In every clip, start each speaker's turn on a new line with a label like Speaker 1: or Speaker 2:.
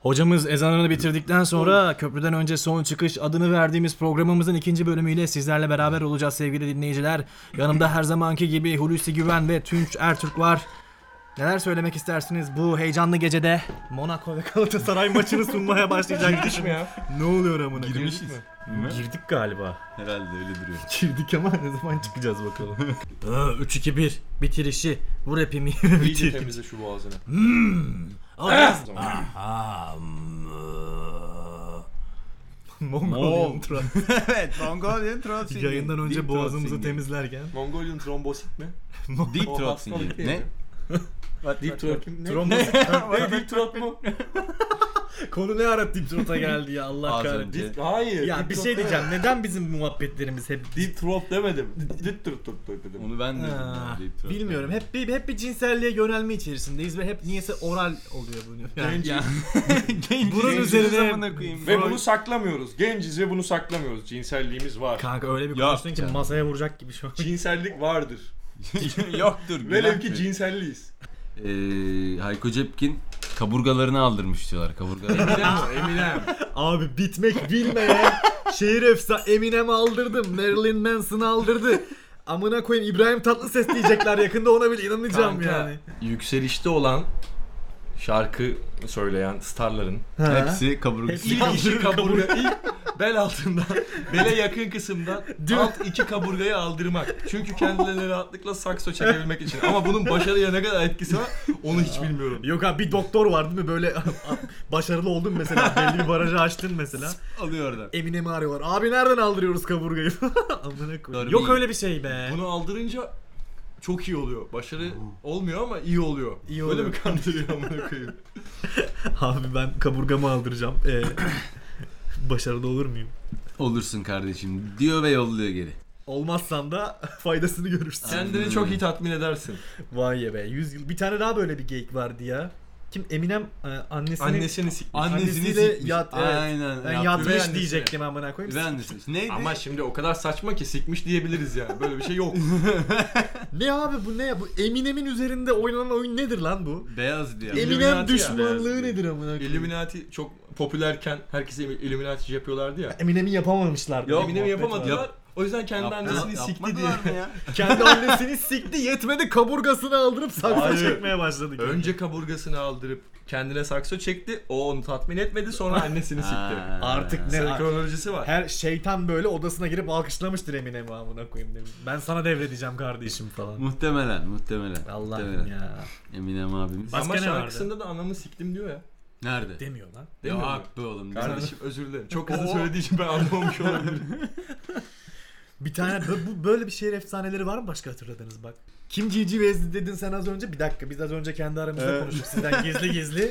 Speaker 1: Hocamız ezanını bitirdikten sonra köprüden önce son çıkış adını verdiğimiz programımızın ikinci bölümüyle sizlerle beraber olacağız sevgili dinleyiciler. Yanımda her zamanki gibi Hulusi Güven ve Tunç Ertürk var. Neler söylemek istersiniz bu heyecanlı gecede Monaco ve Galatasaray maçını sunmaya başlayacak
Speaker 2: Girmiş mi ya?
Speaker 1: Ne oluyor amına?
Speaker 2: Girmişiz.
Speaker 1: Girdik galiba.
Speaker 3: Herhalde öyle duruyor.
Speaker 1: Girdik ama ne zaman çıkacağız bakalım. Ee, 3-2-1 bitirişi. Bu rapimi bitir.
Speaker 2: İyice temizle şu boğazını.
Speaker 1: Mongolian Trans.
Speaker 3: evet, Mongolian Throat Singing.
Speaker 1: Yayından önce
Speaker 3: Deep throat
Speaker 1: boğazımızı
Speaker 3: singing.
Speaker 1: temizlerken.
Speaker 2: Mongolian trombosit mi?
Speaker 3: Deep
Speaker 2: O
Speaker 3: Throat
Speaker 2: hastalık
Speaker 3: Singing.
Speaker 2: değil
Speaker 3: Ne?
Speaker 2: mi?
Speaker 3: Deep Throat.
Speaker 2: Bakayım, ne?
Speaker 1: Tromboz.
Speaker 2: Ne deep throat mu?
Speaker 1: Konu ne ara Deep Throat'a geldi ya Allah
Speaker 3: Az
Speaker 1: kahretsin.
Speaker 3: önce.
Speaker 2: Deep- Hayır.
Speaker 1: Ya
Speaker 2: deep
Speaker 1: bir
Speaker 2: throat
Speaker 1: şey
Speaker 2: demedim.
Speaker 1: diyeceğim. Neden bizim muhabbetlerimiz hep
Speaker 2: Deep throat demedim. Deep throat throat throat dedim.
Speaker 3: Onu ben de
Speaker 1: Ah,
Speaker 3: deep throat.
Speaker 1: Bilmiyorum. Hep bir hep bir cinselliğe yönelme içerisindeyiz ve hep niyeyse oral oluyor bu. Yani.
Speaker 3: Ya.
Speaker 1: Bunun
Speaker 3: Gençliğimiz
Speaker 1: üzerine-
Speaker 3: amına koyayım.
Speaker 2: Ve bunu saklamıyoruz. Genciz ve bunu saklamıyoruz. Cinselliğimiz var.
Speaker 1: Kanka öyle bir
Speaker 3: Yok
Speaker 1: konuştun ki
Speaker 3: canım.
Speaker 1: masaya vuracak gibi şu an.
Speaker 2: Cinsellik vardır.
Speaker 3: Yoktur.
Speaker 2: Velev
Speaker 3: günah
Speaker 2: ki
Speaker 3: be.
Speaker 2: cinselliyiz.
Speaker 3: Ee, Hayko Cepkin kaburgalarını aldırmış diyorlar. Kaburgalarını.
Speaker 2: Eminem.
Speaker 1: Abi bitmek bilmeyen şehir efsa Eminem aldırdı. Marilyn Manson aldırdı. Amına koyayım İbrahim Tatlıses diyecekler yakında ona bile inanacağım
Speaker 2: Kanka,
Speaker 1: yani.
Speaker 2: Yükselişte olan şarkı söyleyen starların
Speaker 1: Ha.
Speaker 3: Hepsi kaburgası.
Speaker 1: Hepsi-
Speaker 2: İlk iki kaburga, ilk bel altından, bele yakın kısımdan alt iki kaburgayı aldırmak. Çünkü kendilerine rahatlıkla sakso çekebilmek için. Ama bunun başarıya ne kadar etkisi var onu hiç bilmiyorum.
Speaker 1: Yok abi bir doktor var değil mi böyle başarılı oldun mesela belli bir barajı açtın mesela.
Speaker 3: alıyor oradan.
Speaker 1: Eminem'i arıyorlar. Abi nereden aldırıyoruz kaburgayı? Amına koyayım.
Speaker 3: Darbe
Speaker 1: Yok
Speaker 3: iyi.
Speaker 1: öyle bir şey be.
Speaker 2: Bunu aldırınca çok iyi oluyor. Başarı olmuyor ama iyi oluyor.
Speaker 1: İyi
Speaker 2: Böyle
Speaker 1: oluyor.
Speaker 2: mi kandırıyor amına koyayım?
Speaker 1: Abi ben kaburgamı aldıracağım. Ee, başarılı olur muyum?
Speaker 3: Olursun kardeşim diyor ve yolluyor geri.
Speaker 1: Olmazsam da faydasını görürsün.
Speaker 2: Kendini çok iyi tatmin edersin.
Speaker 1: Vay ya be 100 yıl. Bir tane daha böyle bir geyik vardı ya. Kim Eminem e, annesini
Speaker 2: Annesini sikmiş.
Speaker 1: Annesiyle
Speaker 3: sikmiş.
Speaker 1: yat- evet.
Speaker 3: Aynen.
Speaker 1: ben
Speaker 3: yaptı.
Speaker 1: yatmış
Speaker 2: Üvey annesi.
Speaker 1: diyecektim amına koyayım.
Speaker 3: Üvey annesi. Neydi?
Speaker 2: Ama şimdi o kadar saçma ki sikmiş diyebiliriz yani. Böyle bir şey yok.
Speaker 1: Ne abi bu ne ya? Bu Eminem'in üzerinde oynanan oyun nedir lan bu?
Speaker 3: Beyaz diyor.
Speaker 2: Illuminati
Speaker 1: Eminem
Speaker 2: ya.
Speaker 1: düşmanlığı
Speaker 3: Beyaz
Speaker 1: nedir amına koyayım?
Speaker 2: Illuminati çok popülerken herkese Illuminati şey yapıyorlardı ya.
Speaker 1: Eminem'i yapamamışlardı.
Speaker 3: Yok,
Speaker 2: Eminem'i
Speaker 1: muhabbet var.
Speaker 2: yapamadılar. O yüzden kendi
Speaker 3: Yaptı-
Speaker 2: annesini sikti diye.
Speaker 3: yapmadılar mı ya?
Speaker 1: Kendi annesini sikti yetmedi kaburgasını aldırıp saksı
Speaker 2: Hayır.
Speaker 1: çekmeye başladı.
Speaker 2: Önce kaburgasını aldırıp kendine sakso çekti. O onu tatmin etmedi. Sonra annesini sikti.
Speaker 3: Ha.
Speaker 1: Artık ne
Speaker 2: Mesela kronolojisi var.
Speaker 1: her şeytan böyle odasına girip alkışlamıştır Eminem'i amına koyayım demiş. Ben sana devredeceğim kardeşim falan.
Speaker 3: Muhtemelen, muhtemelen.
Speaker 1: Allah'ım
Speaker 3: muhtemelen.
Speaker 1: ya.
Speaker 3: Eminem abimiz.
Speaker 1: Başka
Speaker 2: Ama
Speaker 1: ne vardı?
Speaker 2: şarkısında da anamı siktim diyor ya.
Speaker 3: Nerede?
Speaker 1: Demiyor lan.
Speaker 2: Değil mi?
Speaker 3: Yok be oğlum.
Speaker 2: Kardeşim özür dilerim. Çok hızlı
Speaker 1: Oo.
Speaker 2: söylediği için ben anlamamış olabilirim.
Speaker 1: Bir tane bö- bu böyle bir şehir efsaneleri var mı başka hatırladınız bak. Kim Cici Vezli dedin sen az önce. Bir dakika biz az önce kendi aramızda
Speaker 3: Evet.
Speaker 1: konuştuk sizden gizli gizli.
Speaker 3: şey.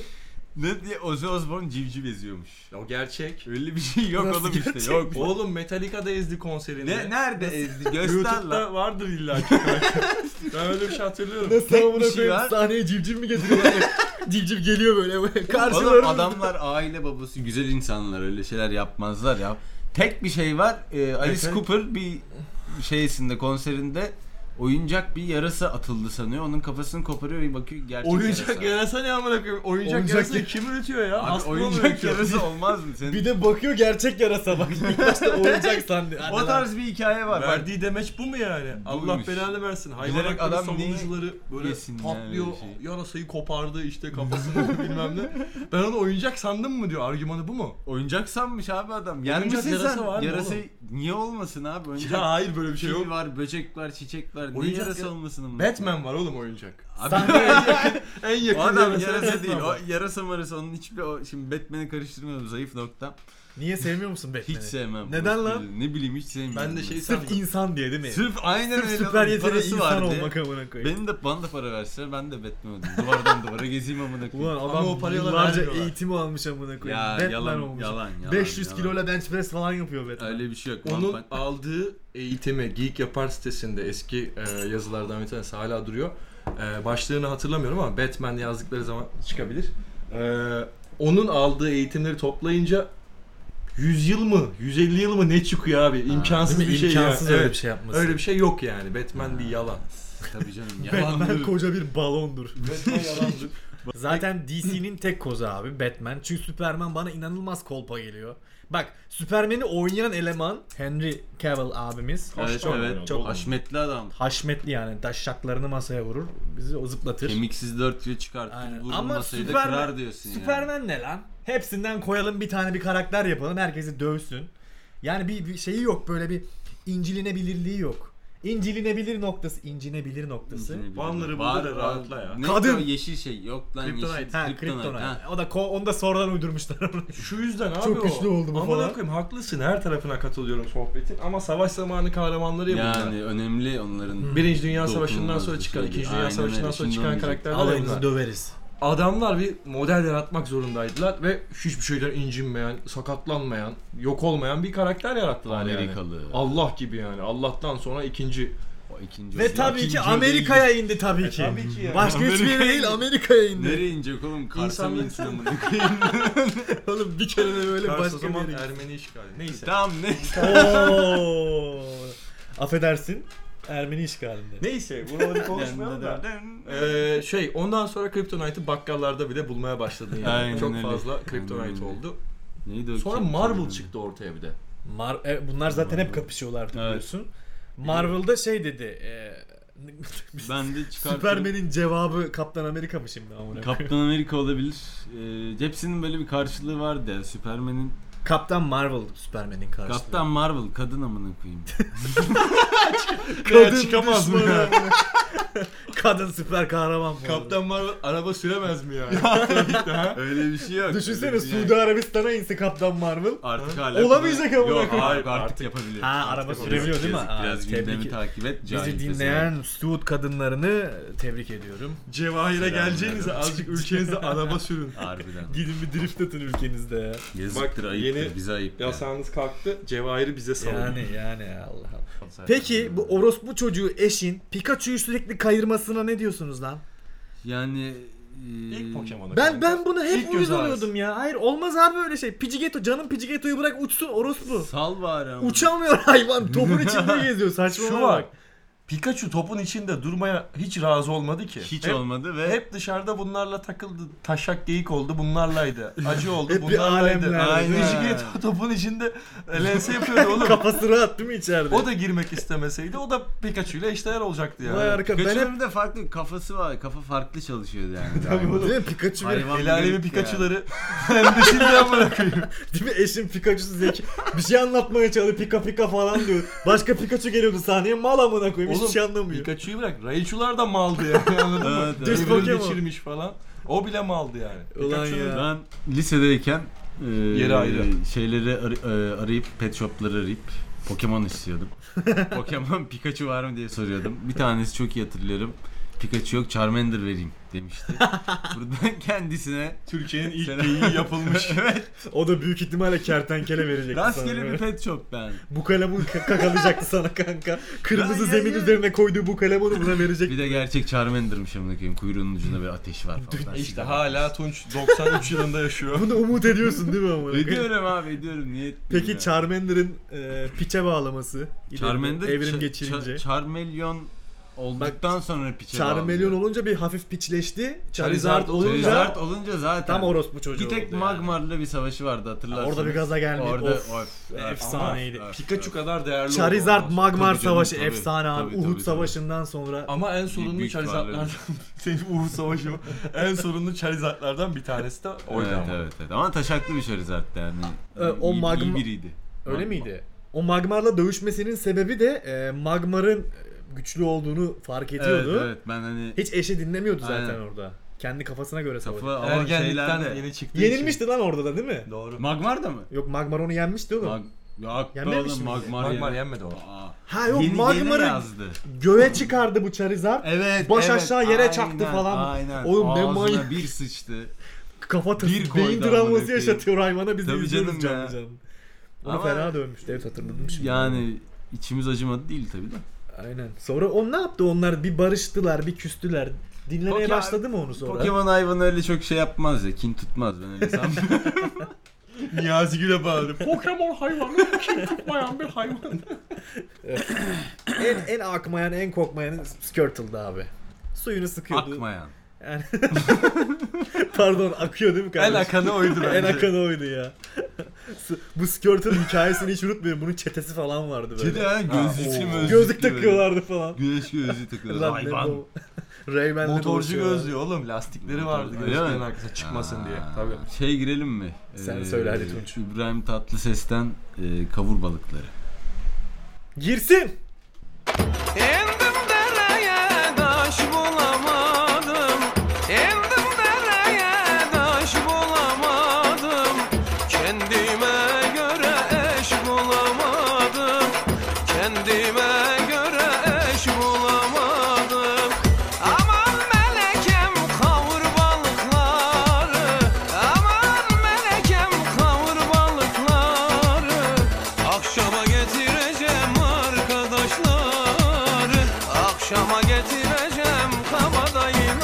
Speaker 3: Ne diye Ozzy Osbourne civciv eziyormuş.
Speaker 2: o gerçek.
Speaker 3: Öyle bir şey yok
Speaker 1: Nasıl
Speaker 3: oğlum işte.
Speaker 1: gerçek?
Speaker 3: Yok. O-
Speaker 2: Oğlum Metallica'da ezdi konserinde.
Speaker 3: Ne nerede ezdi? Göster lan.
Speaker 2: YouTube'da vardır illa ki. ben öyle bir şey hatırlıyorum.
Speaker 1: Nasıl amına
Speaker 3: şey
Speaker 1: koyayım
Speaker 3: var.
Speaker 1: sahneye civciv mi getiriyorlar? civciv geliyor böyle
Speaker 3: Oğlum
Speaker 1: karşılarına.
Speaker 3: adamlar aile babası güzel insanlar öyle şeyler yapmazlar ya. Tek bir şey var. e, Alice
Speaker 2: Efendim?
Speaker 3: Cooper bir şeysinde konserinde oyuncak bir yarasa atıldı sanıyor. Onun kafasını koparıyor bir bakıyor gerçek
Speaker 2: Oyuncak
Speaker 3: yarasa.
Speaker 2: yarasa ne amına koyayım? Oyuncak,
Speaker 1: Oyuncak
Speaker 2: yarasa
Speaker 1: ya-
Speaker 2: kim üretiyor ya?
Speaker 3: Abi,
Speaker 2: Hasta
Speaker 3: oyuncak yarasa olmaz mı senin?
Speaker 1: Bir de bakıyor gerçek yarasa bak. İlk başta oyuncak sandı. Hadi
Speaker 3: o
Speaker 1: lan.
Speaker 3: tarz bir hikaye var. Bak,
Speaker 2: Verdiği demeç bu mu yani? Allah
Speaker 3: Buymuş.
Speaker 2: belanı versin. Hayvan
Speaker 3: Bilerek
Speaker 2: hakları
Speaker 3: adam
Speaker 2: savunucuları böyle
Speaker 3: yesin yani
Speaker 2: patlıyor,
Speaker 3: öyle bir şey.
Speaker 2: yarasayı kopardı işte kafasını vurdu bilmem ne. Ben onu oyuncak sandım mı diyor. Argümanı bu mu?
Speaker 3: oyuncak sanmış abi adam. Yenmişsin
Speaker 2: yarasa
Speaker 3: sen.
Speaker 2: var mı
Speaker 3: yarasa
Speaker 2: oğlum?
Speaker 3: niye olmasın abi? Oyuncak
Speaker 2: Ya hayır böyle bir şey
Speaker 3: Fil
Speaker 2: yok.
Speaker 3: var, böcek var, çiçek var. Niye
Speaker 2: Oyuncak
Speaker 3: yarasa
Speaker 2: ya-
Speaker 3: olmasın onun?
Speaker 2: Batman var oğlum oyuncak.
Speaker 3: Abi
Speaker 1: Sahneye-
Speaker 2: En yakın
Speaker 3: o adam
Speaker 2: yarasa
Speaker 3: yarasa
Speaker 2: Batman
Speaker 3: değil. O
Speaker 2: var.
Speaker 3: yarasa marasa onun hiçbir o, şimdi Batman'i karıştırmıyorum zayıf nokta.
Speaker 1: Niye sevmiyor musun Batman'i?
Speaker 3: Hiç sevmem.
Speaker 1: Neden
Speaker 3: Orası
Speaker 1: lan?
Speaker 3: bile- Ne bileyim hiç sevmiyorum.
Speaker 2: Ben de şey
Speaker 1: Sırf
Speaker 2: sandım.
Speaker 1: insan diye değil mi?
Speaker 3: Sırf aynen
Speaker 1: Sırf
Speaker 3: öyle.
Speaker 1: süper
Speaker 3: oğlum,
Speaker 1: yeteneği
Speaker 3: parası
Speaker 1: insan
Speaker 3: vardı.
Speaker 1: olmak amına koyayım.
Speaker 3: Benim de bana da para verse ben de Batman olayım. Duvardan duvara gezeyim amına koyayım.
Speaker 1: Ulan
Speaker 2: Ama
Speaker 1: adam
Speaker 2: o parayla
Speaker 1: yıllarca
Speaker 2: vermiyorlar.
Speaker 1: eğitimi almış amına koyayım.
Speaker 3: ya
Speaker 1: Batman
Speaker 3: yalan,
Speaker 1: olmuş.
Speaker 3: yalan yalan.
Speaker 1: 500
Speaker 3: yalan.
Speaker 1: kiloyla bench press falan yapıyor Batman.
Speaker 3: Öyle bir şey yok. Onun...
Speaker 2: Onun aldığı eğitimi Geek Yapar sitesinde eski e, yazılardan bir tanesi hala duruyor. E, başlığını hatırlamıyorum ama Batman yazdıkları zaman çıkabilir. E, onun aldığı eğitimleri toplayınca 100 yıl mı, 150 yıl mı ne çıkıyor abi? İmkansız
Speaker 1: Değil mi?
Speaker 2: bir şey
Speaker 1: İmkansız
Speaker 2: ya.
Speaker 1: öyle
Speaker 2: Evet.
Speaker 1: bir şey yapması.
Speaker 2: Öyle bir şey yok yani. Batman bir yalan.
Speaker 3: Tabii canım
Speaker 1: Batman
Speaker 3: yalandır.
Speaker 1: koca bir balondur.
Speaker 2: Batman yalandır.
Speaker 4: Zaten DC'nin tek kozu abi Batman. Çünkü Superman bana inanılmaz kolpa geliyor. Bak Superman'i oynayan eleman Henry Cavill abimiz.
Speaker 5: Kaç
Speaker 3: Evet,
Speaker 5: tane
Speaker 3: evet.
Speaker 5: oynadı
Speaker 4: Çok
Speaker 5: oğlum?
Speaker 3: Haşmetli adam.
Speaker 4: Haşmetli yani taşşaklarını masaya vurur. Bizi o zıplatır.
Speaker 3: Kemiksiz dört yıl çıkartır.
Speaker 4: Aynen. Ama
Speaker 3: Vurulmasaydı
Speaker 4: Superman-
Speaker 3: kırar diyorsun yani.
Speaker 4: Superman ne lan? Hepsinden koyalım bir tane bir karakter yapalım. Herkesi dövsün. Yani bir, bir şeyi yok böyle bir incilinebilirliği yok. İncilinebilir noktası, incinebilir noktası.
Speaker 2: Banları
Speaker 3: Var-
Speaker 2: bulur da rahatla ya.
Speaker 3: Ne
Speaker 4: Kadın.
Speaker 3: o yeşil şey. Yok lan yeşil.
Speaker 2: Kryptonite.
Speaker 4: Ha,
Speaker 3: Kryptonite,
Speaker 4: Krypton.
Speaker 3: ha.
Speaker 4: O da ko- onu da sonradan uydurmuşlar onu.
Speaker 2: Şu yüzden abi
Speaker 4: Çok
Speaker 2: o.
Speaker 4: güçlü oldu bu
Speaker 2: Amına
Speaker 4: falan.
Speaker 2: koyayım haklısın her tarafına katılıyorum sohbetin ama savaş zamanı kahramanları yapıyor.
Speaker 3: Yani önemli onların.
Speaker 2: Birinci Dünya
Speaker 3: Dokunulmaz
Speaker 2: Savaşı'ndan sonra
Speaker 3: bir
Speaker 2: çıkan,
Speaker 3: şey.
Speaker 2: İkinci Dünya
Speaker 3: Aynen
Speaker 2: Savaşı'ndan
Speaker 3: öyle.
Speaker 2: sonra
Speaker 3: Şimdi
Speaker 2: çıkan
Speaker 3: olmayacak.
Speaker 2: karakterler
Speaker 4: Alayımızı
Speaker 2: bunlar.
Speaker 4: döveriz.
Speaker 2: Adamlar bir model yaratmak zorundaydılar ve hiçbir şeyden incinmeyen, sakatlanmayan, yok olmayan bir karakter yarattılar
Speaker 3: Amerikalı.
Speaker 2: yani. Allah gibi yani. Allah'tan sonra ikinci.
Speaker 3: O ikinci.
Speaker 4: Ve tabii ki
Speaker 3: İkinci
Speaker 4: Amerika'ya indi tabii
Speaker 3: E,
Speaker 4: ki.
Speaker 2: tabii ki ya.
Speaker 4: Başka hiçbir yere
Speaker 3: Amerika'ya
Speaker 4: değil
Speaker 3: indi.
Speaker 4: Amerika'ya indi.
Speaker 3: Nereye inecek oğlum? Kars'a mı insin amına koyayım?
Speaker 4: Oğlum bir kere de böyle
Speaker 2: Kars o
Speaker 4: başka
Speaker 2: zaman
Speaker 4: bir yere.
Speaker 2: Ermeni işgali. Neyse.
Speaker 3: Tamam ne?
Speaker 4: Oo. Affedersin. Ermeni işgalinde.
Speaker 2: Neyse bunu hadi konuşmayalım da. Ee, şey ondan sonra Kryptonite'ı bakkallarda bile bulmaya başladın yani.
Speaker 3: Aynen
Speaker 2: Çok
Speaker 3: öyle.
Speaker 2: fazla Kryptonite
Speaker 3: Aynen öyle.
Speaker 2: oldu.
Speaker 3: Neydi o
Speaker 2: Sonra
Speaker 3: kim?
Speaker 2: Marvel
Speaker 3: Kim?
Speaker 2: çıktı ortaya bir de.
Speaker 4: Mar e, bunlar zaten hep kapışıyorlardı
Speaker 3: Evet.
Speaker 4: biliyorsun. Marvel'da şey dedi. E,
Speaker 3: Ben de çıkarttım.
Speaker 4: Superman'in cevabı Kaptan Amerika mı şimdi amına? koyayım?
Speaker 3: Kaptan Amerika olabilir. Ee, hepsinin böyle bir karşılığı vardı ya. Superman'in
Speaker 4: Kaptan Marvel Superman'in karşılığı.
Speaker 3: Kaptan Marvel kadın amına koyayım.
Speaker 4: Kadın
Speaker 2: çıkamaz mı
Speaker 4: düşmanı.
Speaker 2: ya?
Speaker 4: Kadın süper kahraman. bu arada.
Speaker 2: Kaptan Marvel araba süremez mi yani?
Speaker 3: Öyle bir şey yok.
Speaker 4: Düşünsene
Speaker 3: Öyle bir şey yok.
Speaker 4: Suudi Arabistan'a inse Kaptan Marvel.
Speaker 3: Artık hala
Speaker 4: Olamayacak amına
Speaker 3: Yok
Speaker 4: koyayım.
Speaker 3: artık, artık yapabiliyor.
Speaker 4: Ha, araba sürebiliyor değil mi? Aa,
Speaker 3: Biraz
Speaker 4: tebrik-
Speaker 3: gündemi takip et.
Speaker 4: Bizi
Speaker 3: cahil
Speaker 4: dinleyen Suud kadınlarını tebrik ediyorum.
Speaker 2: Cevahir'e
Speaker 3: Selam
Speaker 2: geleceğinize
Speaker 3: ederim.
Speaker 2: azıcık ülkenizde araba sürün.
Speaker 3: kesin. Harbiden.
Speaker 4: Gidin bir drift atın ülkenizde ya.
Speaker 3: Yazıktır
Speaker 2: Bak,
Speaker 3: ayıptır.
Speaker 2: yeni
Speaker 3: bize ayıp. ya.
Speaker 2: Yasağınız kalktı. Cevahir'i bize savun.
Speaker 4: Yani yani Allah Allah. Peki bu orospu çocuğu eşin Pikachu'yu sürekli kayırmasına ne diyorsunuz lan?
Speaker 3: Yani... e,
Speaker 2: İlk Pokemon'a
Speaker 4: Ben ben bunu
Speaker 2: İlk
Speaker 4: hep
Speaker 2: göz
Speaker 4: uyuz
Speaker 2: ağrısı.
Speaker 4: oluyordum ya. Hayır olmaz abi öyle şey. Pidgeotto canım Pidgeotto'yu bırak uçsun orospu.
Speaker 3: Sal bari ama.
Speaker 4: Uçamıyor hayvan. Topun içinde geziyor
Speaker 2: Şu
Speaker 4: saçmalama
Speaker 2: var.
Speaker 4: bak.
Speaker 2: Pikachu topun içinde durmaya hiç razı olmadı ki.
Speaker 3: Hiç
Speaker 2: hep,
Speaker 3: olmadı ve...
Speaker 2: Hep dışarıda bunlarla takıldı. Taşak geyik oldu bunlarlaydı. Acı oldu
Speaker 4: Hep bir
Speaker 2: bunlarlaydı.
Speaker 4: alemlerde.
Speaker 2: Aynen.
Speaker 3: Aynen.
Speaker 2: Pidgeotto topun içinde LS yapıyordu oğlum.
Speaker 4: Kafası rahat değil mi içeride?
Speaker 2: o da girmek istemeseydi o da Pikachu ile eşdeğer olacaktı yani.
Speaker 4: Vay arka ben hep
Speaker 3: Kaçının de farklı kafası var. Kafa farklı çalışıyordu yani.
Speaker 4: Tabii
Speaker 3: Daima.
Speaker 4: oğlum. Değil mi Pikachu bir-
Speaker 3: Hayvan
Speaker 2: El alemi
Speaker 3: garip
Speaker 2: Pikachu'ları hem de şimdi amına koyayım.
Speaker 4: Değil mi eşim Pikachu'su zeki. bir şey anlatmaya çalışıyor pika pika falan diyor. Başka Pikachu geliyordu sahneye mal amına koyayım hiçbir
Speaker 2: Oğlum,
Speaker 4: şey anlamıyor.
Speaker 2: Pikachu'yu bırak. Raichu'lar da maldı yani anladın mı?
Speaker 3: Evet, evet.
Speaker 4: Düz
Speaker 2: Evrim
Speaker 4: Pokemon.
Speaker 2: geçirmiş falan. O bile maldı yani.
Speaker 4: Ulan
Speaker 2: Pikachu'nun
Speaker 4: ya.
Speaker 3: Ben lisedeyken e,
Speaker 2: Yeri ayrı.
Speaker 3: şeyleri ar- e, arayıp pet shopları arayıp Pokemon istiyordum. Pokemon Pikachu var mı diye soruyordum. Bir tanesi çok iyi hatırlıyorum. Pikachu yok Charmander vereyim demişti. Buradan kendisine
Speaker 2: Türkiye'nin ilk
Speaker 3: Selam.
Speaker 2: geyiği yapılmış.
Speaker 3: evet
Speaker 4: O da büyük ihtimalle kertenkele verecekti sana.
Speaker 3: rastgele bir
Speaker 4: böyle.
Speaker 3: pet shop ben.
Speaker 4: Bu kalemonu k- kakalayacaktı sana kanka. Kırmızı
Speaker 3: Ya, ya,
Speaker 4: zemin
Speaker 3: ya.
Speaker 4: üzerine koyduğu bu kalemonu buna verecek.
Speaker 3: Bir de gerçek Charmander'mış amına koyayım. Kuyruğunun ucunda bir ateş var falan.
Speaker 2: işte hala Tunç 93 yılında yaşıyor.
Speaker 4: Bunu umut ediyorsun değil mi ama?
Speaker 3: Ediyorum abi ediyorum niyet.
Speaker 4: Peki Charmander'ın e, piçe bağlaması.
Speaker 3: Charmander
Speaker 4: Evrim
Speaker 3: ça-
Speaker 4: geçirince.
Speaker 3: ça- Charmeleon olduktan sonra piçe
Speaker 4: Charmeleon
Speaker 3: bağlıyor.
Speaker 4: olunca bir hafif piçleşti. Charizard
Speaker 2: Charizard
Speaker 4: olunca
Speaker 3: Charizard olunca zaten
Speaker 4: tam orospu çocuğu
Speaker 3: Bir tek
Speaker 4: oldu yani.
Speaker 3: Magmar'la bir savaşı vardı hatırlarsın.
Speaker 4: Orada bir gaza geldi.
Speaker 3: Orada
Speaker 4: Of,
Speaker 3: of, evet.
Speaker 4: efsaneydi.
Speaker 3: Ama-
Speaker 2: Pikachu kadar değerli
Speaker 4: Charizard
Speaker 2: oldu ondan sonra.
Speaker 4: Magmar
Speaker 3: Tabii canım,
Speaker 4: Savaşı
Speaker 3: tabii.
Speaker 4: efsane abi.
Speaker 3: Tabii,
Speaker 4: Uhud
Speaker 3: tabii, tabii.
Speaker 4: Savaşı'ndan sonra
Speaker 2: Ama en
Speaker 3: Büyük-
Speaker 2: sorunlu
Speaker 3: büyük
Speaker 2: Charizard'lardan Senin Uğur Savaşı o. en sorunlu Charizard'lardan bir tanesi de oydu
Speaker 3: Evet
Speaker 2: ama.
Speaker 3: evet evet ama taşaklı bir Charizard yani.
Speaker 4: Ee, o
Speaker 3: İyi- iyi
Speaker 4: Magma-
Speaker 3: biriydi.
Speaker 4: öyle
Speaker 3: Magma.
Speaker 4: miydi? O Magmar'la dövüşmesinin sebebi de e, Magmar'ın e, güçlü olduğunu fark
Speaker 3: Evet
Speaker 4: ediyordu.
Speaker 3: evet ben hani
Speaker 4: Hiç eşi dinlemiyordu zaten
Speaker 3: Aynen.
Speaker 4: orada. Kendi kafasına göre savaşıyordu.
Speaker 3: kafa ama
Speaker 2: Ergenlikten
Speaker 3: şeylerde.
Speaker 2: yeni çıktığı
Speaker 4: Yenilmişti lan orada da değil mi?
Speaker 2: için. Doğru.
Speaker 3: Magmar da mı?
Speaker 4: Yok Magmar onu yenmişti oğlum.
Speaker 3: Mag... Yok be
Speaker 4: Yenmemiş
Speaker 3: oğlum
Speaker 4: miydi?
Speaker 3: Magmar,
Speaker 2: Magmar
Speaker 3: yeni-
Speaker 2: yenmedi o.
Speaker 3: Aa.
Speaker 4: ha yok
Speaker 3: Yeni- yeni
Speaker 4: Magmar'ı
Speaker 3: yazdı.
Speaker 4: göğe çıkardı bu Charizard.
Speaker 3: Evet
Speaker 4: Baş
Speaker 3: evet,
Speaker 4: aşağı yere çaktı
Speaker 3: aynen,
Speaker 4: falan.
Speaker 3: Aynen.
Speaker 4: Oğlum ne
Speaker 3: Ağzına
Speaker 4: manyak.
Speaker 3: bir sıçtı.
Speaker 4: Kafa
Speaker 3: Bir
Speaker 4: tası,
Speaker 3: koydu
Speaker 4: beyin
Speaker 3: amına
Speaker 4: travması
Speaker 3: koyayım.
Speaker 4: yaşatıyor hayvana biz de
Speaker 3: Tabii
Speaker 4: izliyoruz
Speaker 3: canım
Speaker 4: canlı
Speaker 3: ya.
Speaker 4: canlı. Onu
Speaker 3: Ama-
Speaker 4: fena dövmüştü evet hatırladım şimdi.
Speaker 3: Yani içimiz acımadı değil tabii de.
Speaker 4: Aynen. Sonra on ne yaptı onlar? Bir barıştılar, bir küstüler. Dinlemeye
Speaker 3: Pokemon-
Speaker 4: başladı mı onu sonra?
Speaker 3: Pokemon hayvanı öyle çok şey yapmaz ya. Kin tutmaz ben öyle şey sanmıyorum.
Speaker 2: Niyazi Gül'e bağladı.
Speaker 5: Pokemon hayvanı kim tutmayan bir hayvan.
Speaker 4: en en akmayan, en kokmayan Squirtle'dı abi. Suyunu sıkıyordu.
Speaker 3: Akmayan.
Speaker 4: Yani... Pardon akıyor değil mi
Speaker 3: En
Speaker 4: kardeşim?
Speaker 3: akanı oydu bence.
Speaker 4: En akanı oydu ya. S- Bu Squirtle'ın hikayesini hiç unutmuyorum. Bunun çetesi falan vardı böyle.
Speaker 3: Kedi ha gözlüklü mü?
Speaker 4: Gözlük takıyorlardı falan.
Speaker 3: Güneş gözlüğü takıyorlar.
Speaker 4: Lan ne bu? Rayman'le
Speaker 2: Motorcu
Speaker 4: dolaşıyorlar.
Speaker 2: gözlüğü oğlum. Lastikleri vardı
Speaker 3: Öyle mi?
Speaker 2: gözlüklerin arkasına çıkmasın diye.
Speaker 3: Aa,
Speaker 2: Tabii.
Speaker 3: Şey girelim mi? Ee,
Speaker 4: Sen söyle hadi Tunç.
Speaker 3: İbrahim Tatlıses'ten e, kavur balıkları.
Speaker 4: Girsin.
Speaker 6: Endim dereye taş bulamadım Endim dereye taş bulamadım Kendime göre eş bulamadım Kendime göre eş bulamadım Aman melekem kavur balıkları Aman melekem kavur balıkları Akşama getireceğim arkadaşları Akşama getireceğim kabadayıları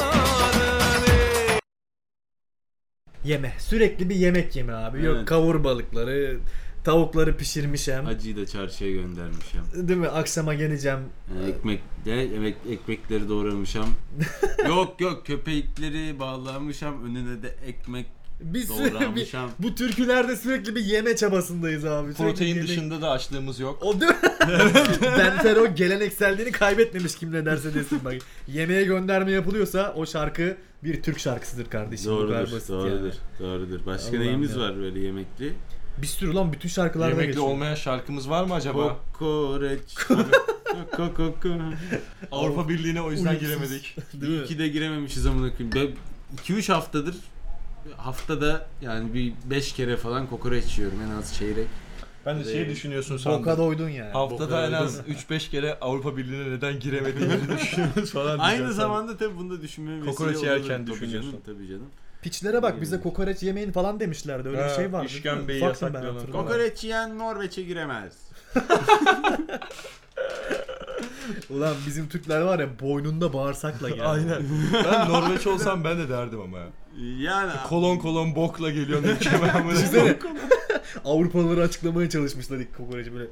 Speaker 4: Yeme. Sürekli bir yemek yeme abi. Yok
Speaker 3: Evet.
Speaker 4: kavur balıkları, tavukları pişirmişem.
Speaker 3: Acıyı da çarşıya göndermişim.
Speaker 4: Değil mi? Akşama geleceğim.
Speaker 3: Yani ekmek de emek, Ee, ekmekleri doğramışım. yok yok köpekleri bağlamışım önüne de ekmek
Speaker 4: Biz
Speaker 3: doğramışım.
Speaker 4: bu türkülerde sürekli bir yeme çabasındayız abi. Sürekli
Speaker 2: Protein
Speaker 4: yemek-
Speaker 2: dışında da açlığımız yok.
Speaker 4: O değil mi? ben Fer o gelenekselliğini kaybetmemiş kim ne derse desin bak. Yemeğe gönderme yapılıyorsa o şarkı bir Türk şarkısıdır kardeşim. Bu kadar
Speaker 3: Doğrudur,
Speaker 4: basit
Speaker 3: doğrudur,
Speaker 4: yani.
Speaker 3: doğrudur. Başka
Speaker 4: Allah'ım
Speaker 3: neyimiz
Speaker 4: ya.
Speaker 3: var böyle yemekli?
Speaker 4: Bir sürü lan bütün şarkılarda
Speaker 2: Yemekli
Speaker 4: geçiyor.
Speaker 2: olmayan şarkımız var mı acaba?
Speaker 3: Kokoreç. Kokoko.
Speaker 2: Avrupa Birliği'ne o yüzden
Speaker 4: Uyumsuz.
Speaker 2: giremedik.
Speaker 4: Değil mi?
Speaker 3: İki de girememişiz amına koyayım. 2-3 haftadır haftada yani bir 5 kere falan kokoreç yiyorum en az çeyrek.
Speaker 2: Ben de şey düşünüyorsun
Speaker 4: Boka
Speaker 2: sandım.
Speaker 4: doydun yani.
Speaker 2: Haftada en az
Speaker 3: Boka'da
Speaker 2: 3-5 kere Avrupa Birliği'ne neden giremediğimizi düşünüyoruz falan.
Speaker 3: Aynı
Speaker 2: diyeceğim
Speaker 3: zamanda tabii bunu da düşünmeye vesile
Speaker 2: Kokoreç
Speaker 3: olur.
Speaker 2: yerken
Speaker 3: Tabii
Speaker 2: düşünüyorsun.
Speaker 3: canım, Tabii canım.
Speaker 4: Piçlere bak bize kokoreç yemeyin falan demişlerdi. Öyle bir
Speaker 2: Ha,
Speaker 4: şey vardı.
Speaker 2: işkembeyi
Speaker 4: Ufaktım ben
Speaker 2: yasaklıyorlar.
Speaker 4: hatırlamıyorum.
Speaker 3: Kokoreç yiyen Norveç'e giremez.
Speaker 4: Ulan bizim Türkler var ya boynunda bağırsakla geldi.
Speaker 2: Aynen. Ben Norveç olsam ben de derdim ama. ya.
Speaker 3: Yani
Speaker 2: Kolon kolon bokla geliyorsun ülkeme. amına koyayım.
Speaker 4: Düşünsene. Avrupalıları açıklamaya çalışmışlar ilk kokoreci böyle.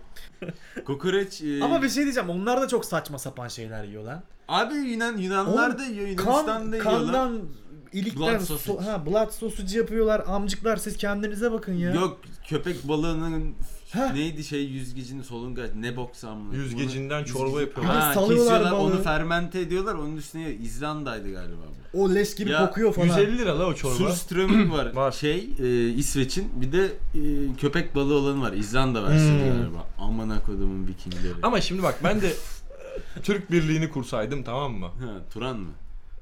Speaker 3: kokoreç e,
Speaker 4: Ama bir şey diyeceğim onlar da çok saçma sapan şeyler yiyor lan.
Speaker 3: abi Yunan Yunanlar
Speaker 4: Oğlum,
Speaker 3: da yiyor,
Speaker 4: Kan,
Speaker 3: Yunanistan'da yiyor lan.
Speaker 4: kandan ilikten
Speaker 3: Blood
Speaker 4: so-
Speaker 3: sausage.
Speaker 4: ha, blood sausage yapıyorlar amcıklar siz kendinize bakın ya.
Speaker 3: Yok köpek balığının
Speaker 4: Heh.
Speaker 3: neydi şey yüzgecini solungaç ne boksam
Speaker 2: Yüzgecinden çorba yapıyorlar.
Speaker 4: Ha,
Speaker 3: Ha,
Speaker 4: salıyorlar
Speaker 3: kesiyorlar
Speaker 4: balığı.
Speaker 3: onu fermente ediyorlar onun üstüne İzlanda'ydı galiba bu.
Speaker 4: O leş gibi
Speaker 3: Ya,
Speaker 4: kokuyor falan.
Speaker 2: 150 lira la o çorba.
Speaker 3: Surströmming var.
Speaker 2: Var.
Speaker 3: Şey e, İsveç'in bir de e, köpek balığı olanı var. İzlanda versiyonu
Speaker 4: Hmm.
Speaker 3: galiba. Aman akodumun vikingleri.
Speaker 2: Ama şimdi bak ben de Türk Birliği'ni kursaydım tamam mı?
Speaker 3: Ha, Turan mı?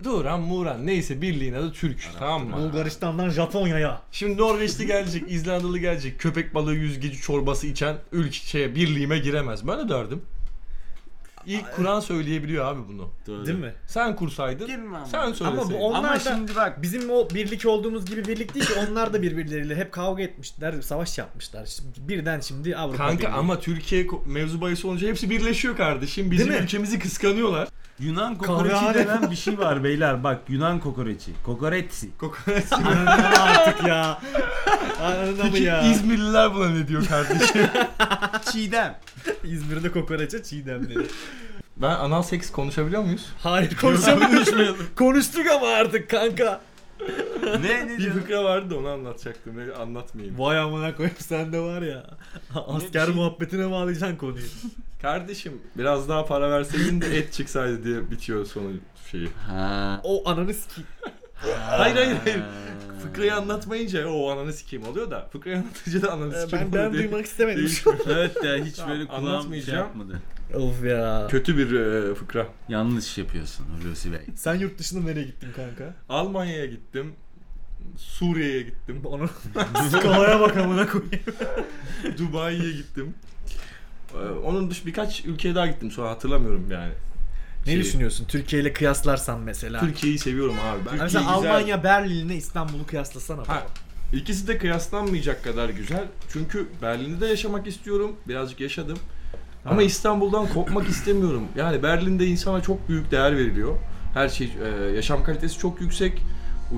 Speaker 2: Duran Muran neyse birliğin adı Türk tamam mı?
Speaker 4: Bulgaristan'dan Japonya'ya.
Speaker 2: Şimdi Norveçli gelecek, İzlandalı gelecek, köpek balığı yüzgeci çorbası içen ülkeye birliğime giremez. Ben de derdim. İlk Kur'an söyleyebiliyor abi bunu.
Speaker 3: Doğru.
Speaker 4: Değil mi?
Speaker 2: Sen kursaydın,
Speaker 3: Girmem ben.
Speaker 2: sen
Speaker 3: Ama
Speaker 2: söyleseydin.
Speaker 4: Ama bu onlar
Speaker 3: Ama
Speaker 4: da
Speaker 3: şimdi bak-
Speaker 4: bizim o birlik olduğumuz gibi birlik değil ki onlar da birbirleriyle hep kavga etmişler, savaş yapmışlar. Şimdi birden şimdi Avrupa
Speaker 2: Kanka
Speaker 4: Birliği.
Speaker 2: ama Türkiye ko- mevzu bahis olunca hepsi birleşiyor kardeşim. Bizim
Speaker 4: Değil mi?
Speaker 2: ülkemizi kıskanıyorlar.
Speaker 3: Yunan
Speaker 4: Kahvehane.
Speaker 3: kokoreçi denen bir şey var beyler. Bak Yunan kokoreçi. Kokoretsi.
Speaker 4: Anladın artık ya. Anladın mı
Speaker 2: Peki
Speaker 4: ya?
Speaker 2: İzmirliler buna ne diyor kardeşim?
Speaker 3: Çiğdem.
Speaker 4: İzmir'de kokoreçe çiğdem dedi.
Speaker 2: ben anal seks konuşabiliyor muyuz?
Speaker 4: Hayır konuşamıyoruz. Konuştuk ama artık kanka.
Speaker 3: ne ne
Speaker 2: Bir
Speaker 3: diyor?
Speaker 2: fıkra vardı onu anlatacaktım. Ne- Anlatmayayım.
Speaker 4: Vay amına koyayım sende var ya. Asker
Speaker 3: şey-
Speaker 4: muhabbetine bağlayacaksın konuyu.
Speaker 2: Kardeşim biraz daha para verseydin de et çıksaydı diye bitiyor sonu şeyi.
Speaker 3: Ha.
Speaker 4: O ananı ki.
Speaker 2: Hayır hayır hayır. Fıkrayı anlatmayınca o ananı sikeyim oluyor da fıkrayı anlatınca da ananı sikeyim
Speaker 4: Ee, Ben,
Speaker 2: oluyor
Speaker 4: ben
Speaker 2: diye.
Speaker 4: duymak istemedim.
Speaker 3: Evet ya hiç
Speaker 2: Tamam,
Speaker 3: böyle kulağım şey
Speaker 2: anlatmayacağım.
Speaker 3: yapmadı.
Speaker 4: of ya.
Speaker 2: Kötü bir e, fıkra.
Speaker 3: Yanlış yapıyorsun Hulusi Bey.
Speaker 4: Sen yurt dışına nereye gittin kanka?
Speaker 2: Almanya'ya gittim. Suriye'ye gittim.
Speaker 4: Onu skalaya bak amına koyayım.
Speaker 2: Dubai'ye gittim. Ee, Onun dış birkaç ülkeye daha gittim sonra hatırlamıyorum yani.
Speaker 4: Ne
Speaker 2: Şey,
Speaker 4: düşünüyorsun Türkiye ile kıyaslarsan mesela?
Speaker 2: Türkiye'yi seviyorum abi. Ben
Speaker 4: Yani
Speaker 2: Türkiye
Speaker 4: mesela Almanya Berlin'le İstanbul'u kıyaslasana.
Speaker 2: Ha, ikisi de kıyaslanmayacak kadar güzel. Çünkü Berlin'de de yaşamak istiyorum. Birazcık yaşadım. Ama İstanbul'dan kopmak istemiyorum. Yani Berlin'de insana çok büyük değer veriliyor. Her şey, e, yaşam kalitesi çok yüksek.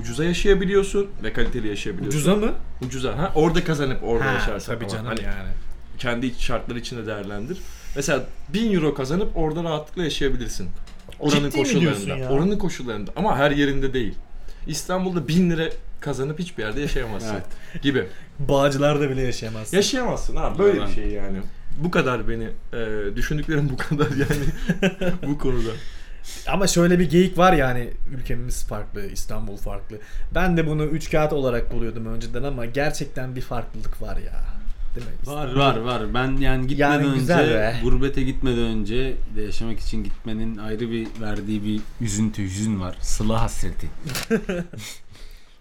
Speaker 2: Ucuza yaşayabiliyorsun ve kaliteli yaşayabiliyorsun.
Speaker 4: Ucuza mı?
Speaker 2: Ucuza. Ha? Orada kazanıp orada yaşarsın.
Speaker 4: tabii
Speaker 2: ama
Speaker 4: canım
Speaker 2: hani
Speaker 4: yani.
Speaker 2: kendi iç şartları içinde değerlendir. Mesela 1000 euro kazanıp orada rahatlıkla yaşayabilirsin. Oranın
Speaker 5: Ciddi mi
Speaker 2: koşullarında.
Speaker 5: diyorsun ya?
Speaker 2: Oranın koşullarında ama her yerinde değil. İstanbul'da 1000 lira kazanıp hiçbir yerde yaşayamazsın gibi.
Speaker 4: Bağcılar'da bile yaşayamaz.
Speaker 2: Yaşayamazsın abi böyle
Speaker 3: Yalan.
Speaker 2: bir şey yani. Bu kadar beni e, düşündüklerim bu kadar yani bu konuda.
Speaker 4: Ama şöyle bir geyik var yani ülkemiz farklı, İstanbul farklı. Ben de bunu üç kağıt olarak buluyordum önceden ama gerçekten bir farklılık var ya. Değil mi?
Speaker 3: Var var var. Ben yani gitmeden
Speaker 4: Yani
Speaker 3: önce,
Speaker 4: güzel be.
Speaker 3: gurbete gitmeden önce de yaşamak için gitmenin ayrı bir verdiği bir üzüntü, hüzün var. Sıla hasreti.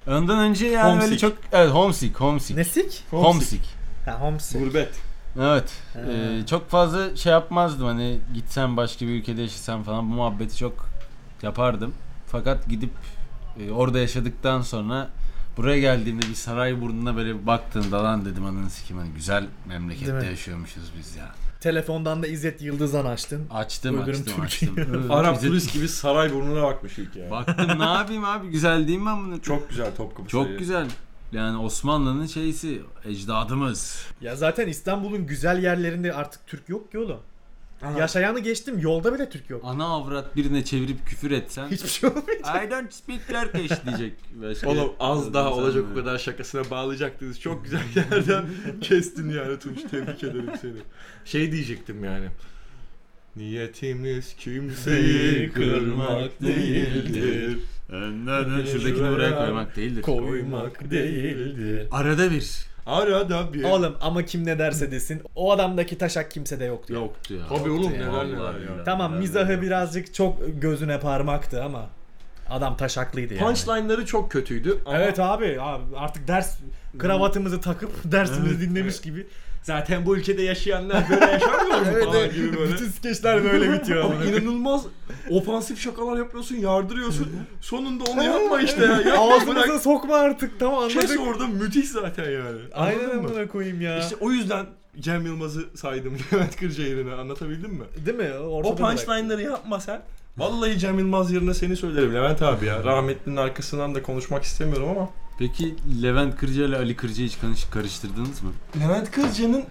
Speaker 3: Ondan önce yani böyle
Speaker 2: Homesick.
Speaker 3: çok evet homesick, homesick.
Speaker 4: Nesik?
Speaker 3: Homesick.
Speaker 4: Ha, homesick.
Speaker 2: Gurbet.
Speaker 3: Evet.
Speaker 4: Ha.
Speaker 3: Ee, çok fazla şey yapmazdım hani gitsem başka bir ülkede yaşasam falan bu muhabbeti çok yapardım. Fakat gidip e, orada yaşadıktan sonra buraya geldiğimde bir saray burnuna böyle baktığımda lan dedim ananı sikim hani güzel
Speaker 4: Değil
Speaker 3: memlekette
Speaker 4: mi?
Speaker 3: yaşıyormuşuz biz ya.
Speaker 4: Telefondan da İzzet Yıldızan açtın.
Speaker 3: Açtım
Speaker 4: Öldürüm
Speaker 3: açtım
Speaker 4: Türkiye'yi.
Speaker 3: açtım.
Speaker 2: Arap
Speaker 3: Bize-
Speaker 2: turist gibi saray burnuna bakmış ülke yani.
Speaker 3: Baktım ne yapayım abi güzel değil mi ben bunu?
Speaker 2: Çok şey. güzel Topkapı
Speaker 3: Çok
Speaker 2: Sarayı.
Speaker 3: güzel. Yani Osmanlı'nın şeysi, ecdadımız.
Speaker 4: Ya zaten İstanbul'un güzel yerlerinde artık Türk yok ki oğlum. Yaşayanı geçtim yolda bile Türk yok.
Speaker 3: Ana avrat birine çevirip küfür etsen
Speaker 4: Hiçbir şey olmuyor.
Speaker 3: I don't speak Turkish diyecek. Başka
Speaker 2: Oğlum az daha
Speaker 3: Sen
Speaker 2: olacak
Speaker 3: mi?
Speaker 2: bu kadar şakasına bağlayacaktınız. Çok güzel yerden kestin yani Tunç. Tebrik ederim seni. Şey diyecektim yani. Niyetimiz kimseyi kırmak değildir.
Speaker 3: Önden ön- Ee, Şuradakini buraya koymak değildir.
Speaker 2: Koymak değildir.
Speaker 3: Arada bir.
Speaker 2: Arada bir...
Speaker 4: Oğlum ama kim ne derse desin o adamdaki taşak kimsede yok diyor.
Speaker 3: Yoktu ya.
Speaker 2: Tabii oğlum
Speaker 4: Ya,
Speaker 2: neler neler ya.
Speaker 3: vallahi billahi.
Speaker 4: Tamam
Speaker 3: Ben-
Speaker 4: mizahı birazcık çok gözüne parmaktı ama adam taşaklıydı yani.
Speaker 2: Punchline'ları çok kötüydü. ama-
Speaker 4: Evet abi, abi artık ders kravatımızı takıp dersimizi dinlemiş gibi.
Speaker 2: Zaten bu ülkede yaşayanlar böyle yaşamıyor mu?
Speaker 4: Evet,
Speaker 2: falan
Speaker 4: evet.
Speaker 2: gibi böyle.
Speaker 4: Bütün skeçler böyle bitiyor.
Speaker 2: Ama
Speaker 4: ama.
Speaker 2: inanılmaz ofansif şakalar yapıyorsun, yardırıyorsun. Sonunda onu yapma işte ya. Yapma bırak.
Speaker 4: Ağzınıza sokma artık tamam
Speaker 2: Kes
Speaker 4: anladık.
Speaker 2: orada müthiş zaten yani.
Speaker 4: Aynen
Speaker 2: Anladın mı?
Speaker 4: amına koyayım ya.
Speaker 2: İşte o yüzden Cem Yılmaz'ı saydım Levent Kırcaeli'ne anlatabildim mi?
Speaker 4: Değil mi? Ortada
Speaker 2: O punchline'ları yapma sen. Vallahi Cem Yılmaz yerine seni söylerim Levent abi ya. Rahmetlinin arkasından da konuşmak istemiyorum ama.
Speaker 3: Peki Levent Kırca ile Ali Kırca'yı hiç karış- karıştırdınız mı?
Speaker 2: Levent Kırca'nın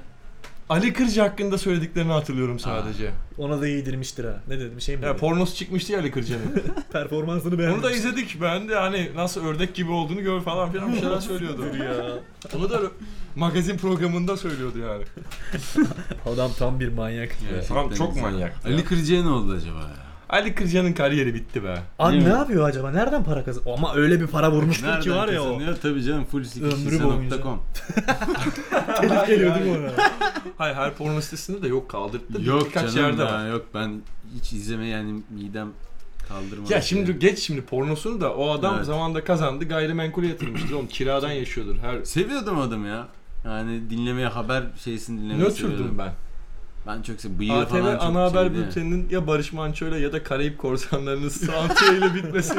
Speaker 2: Ali Kırca hakkında söylediklerini hatırlıyorum sadece.
Speaker 4: Ona da yedirmiştir ha. Ne dedim şey mi?
Speaker 2: Ya
Speaker 4: dedim?
Speaker 2: pornosu çıkmıştı ya Ali Kırca'nın.
Speaker 4: Performansını
Speaker 2: Onu
Speaker 4: beğendim.
Speaker 2: da izledik. Ben de hani nasıl ördek gibi olduğunu gör falan filan bir şeyler söylüyordu. ya. Onu da magazin programında söylüyordu yani.
Speaker 4: Adam tam bir manyak.
Speaker 3: Gerçekten
Speaker 2: Tamam, çok
Speaker 3: güzel.
Speaker 2: manyak ya.
Speaker 3: Ali Kırca'ya ne oldu acaba ya?
Speaker 2: Ali Kırca'nın kariyeri bitti be.
Speaker 4: Abi
Speaker 3: Değil
Speaker 4: ne
Speaker 3: mi?
Speaker 4: yapıyor acaba? Nereden para kazan? Ama öyle bir para vurmuştur ki var ya o.
Speaker 3: kazanıyor? Tabii canım full
Speaker 4: Ömrü boyunca.
Speaker 3: sikişlise.com.
Speaker 4: Telif geliyor değil mi ona?
Speaker 2: Hayır her porno sitesinde de yok kaldırttı.
Speaker 3: Yok
Speaker 2: Birkaç
Speaker 3: canım
Speaker 2: yerde
Speaker 3: ya,
Speaker 2: var.
Speaker 3: yok ben hiç izleme yani midem kaldırmaz.
Speaker 2: Ya şimdi geç şimdi pornosunu da o adam
Speaker 3: Evet.
Speaker 2: zamanda kazandı gayrimenkule yatırmıştır oğlum kiradan yaşıyordur her
Speaker 3: Seviyordum adamı ya. Yani dinlemeye haber şeysini dinlemeyi
Speaker 2: Nötrdüm
Speaker 3: seviyordum.
Speaker 2: ben.
Speaker 3: Ben çok sev bıyığı
Speaker 2: ATV
Speaker 3: falan çok
Speaker 2: ana haber
Speaker 3: şeydi.
Speaker 2: bülteninin ya Barış Manço'yla ya da Karayip Korsanları'nın santiye ile bitmesi.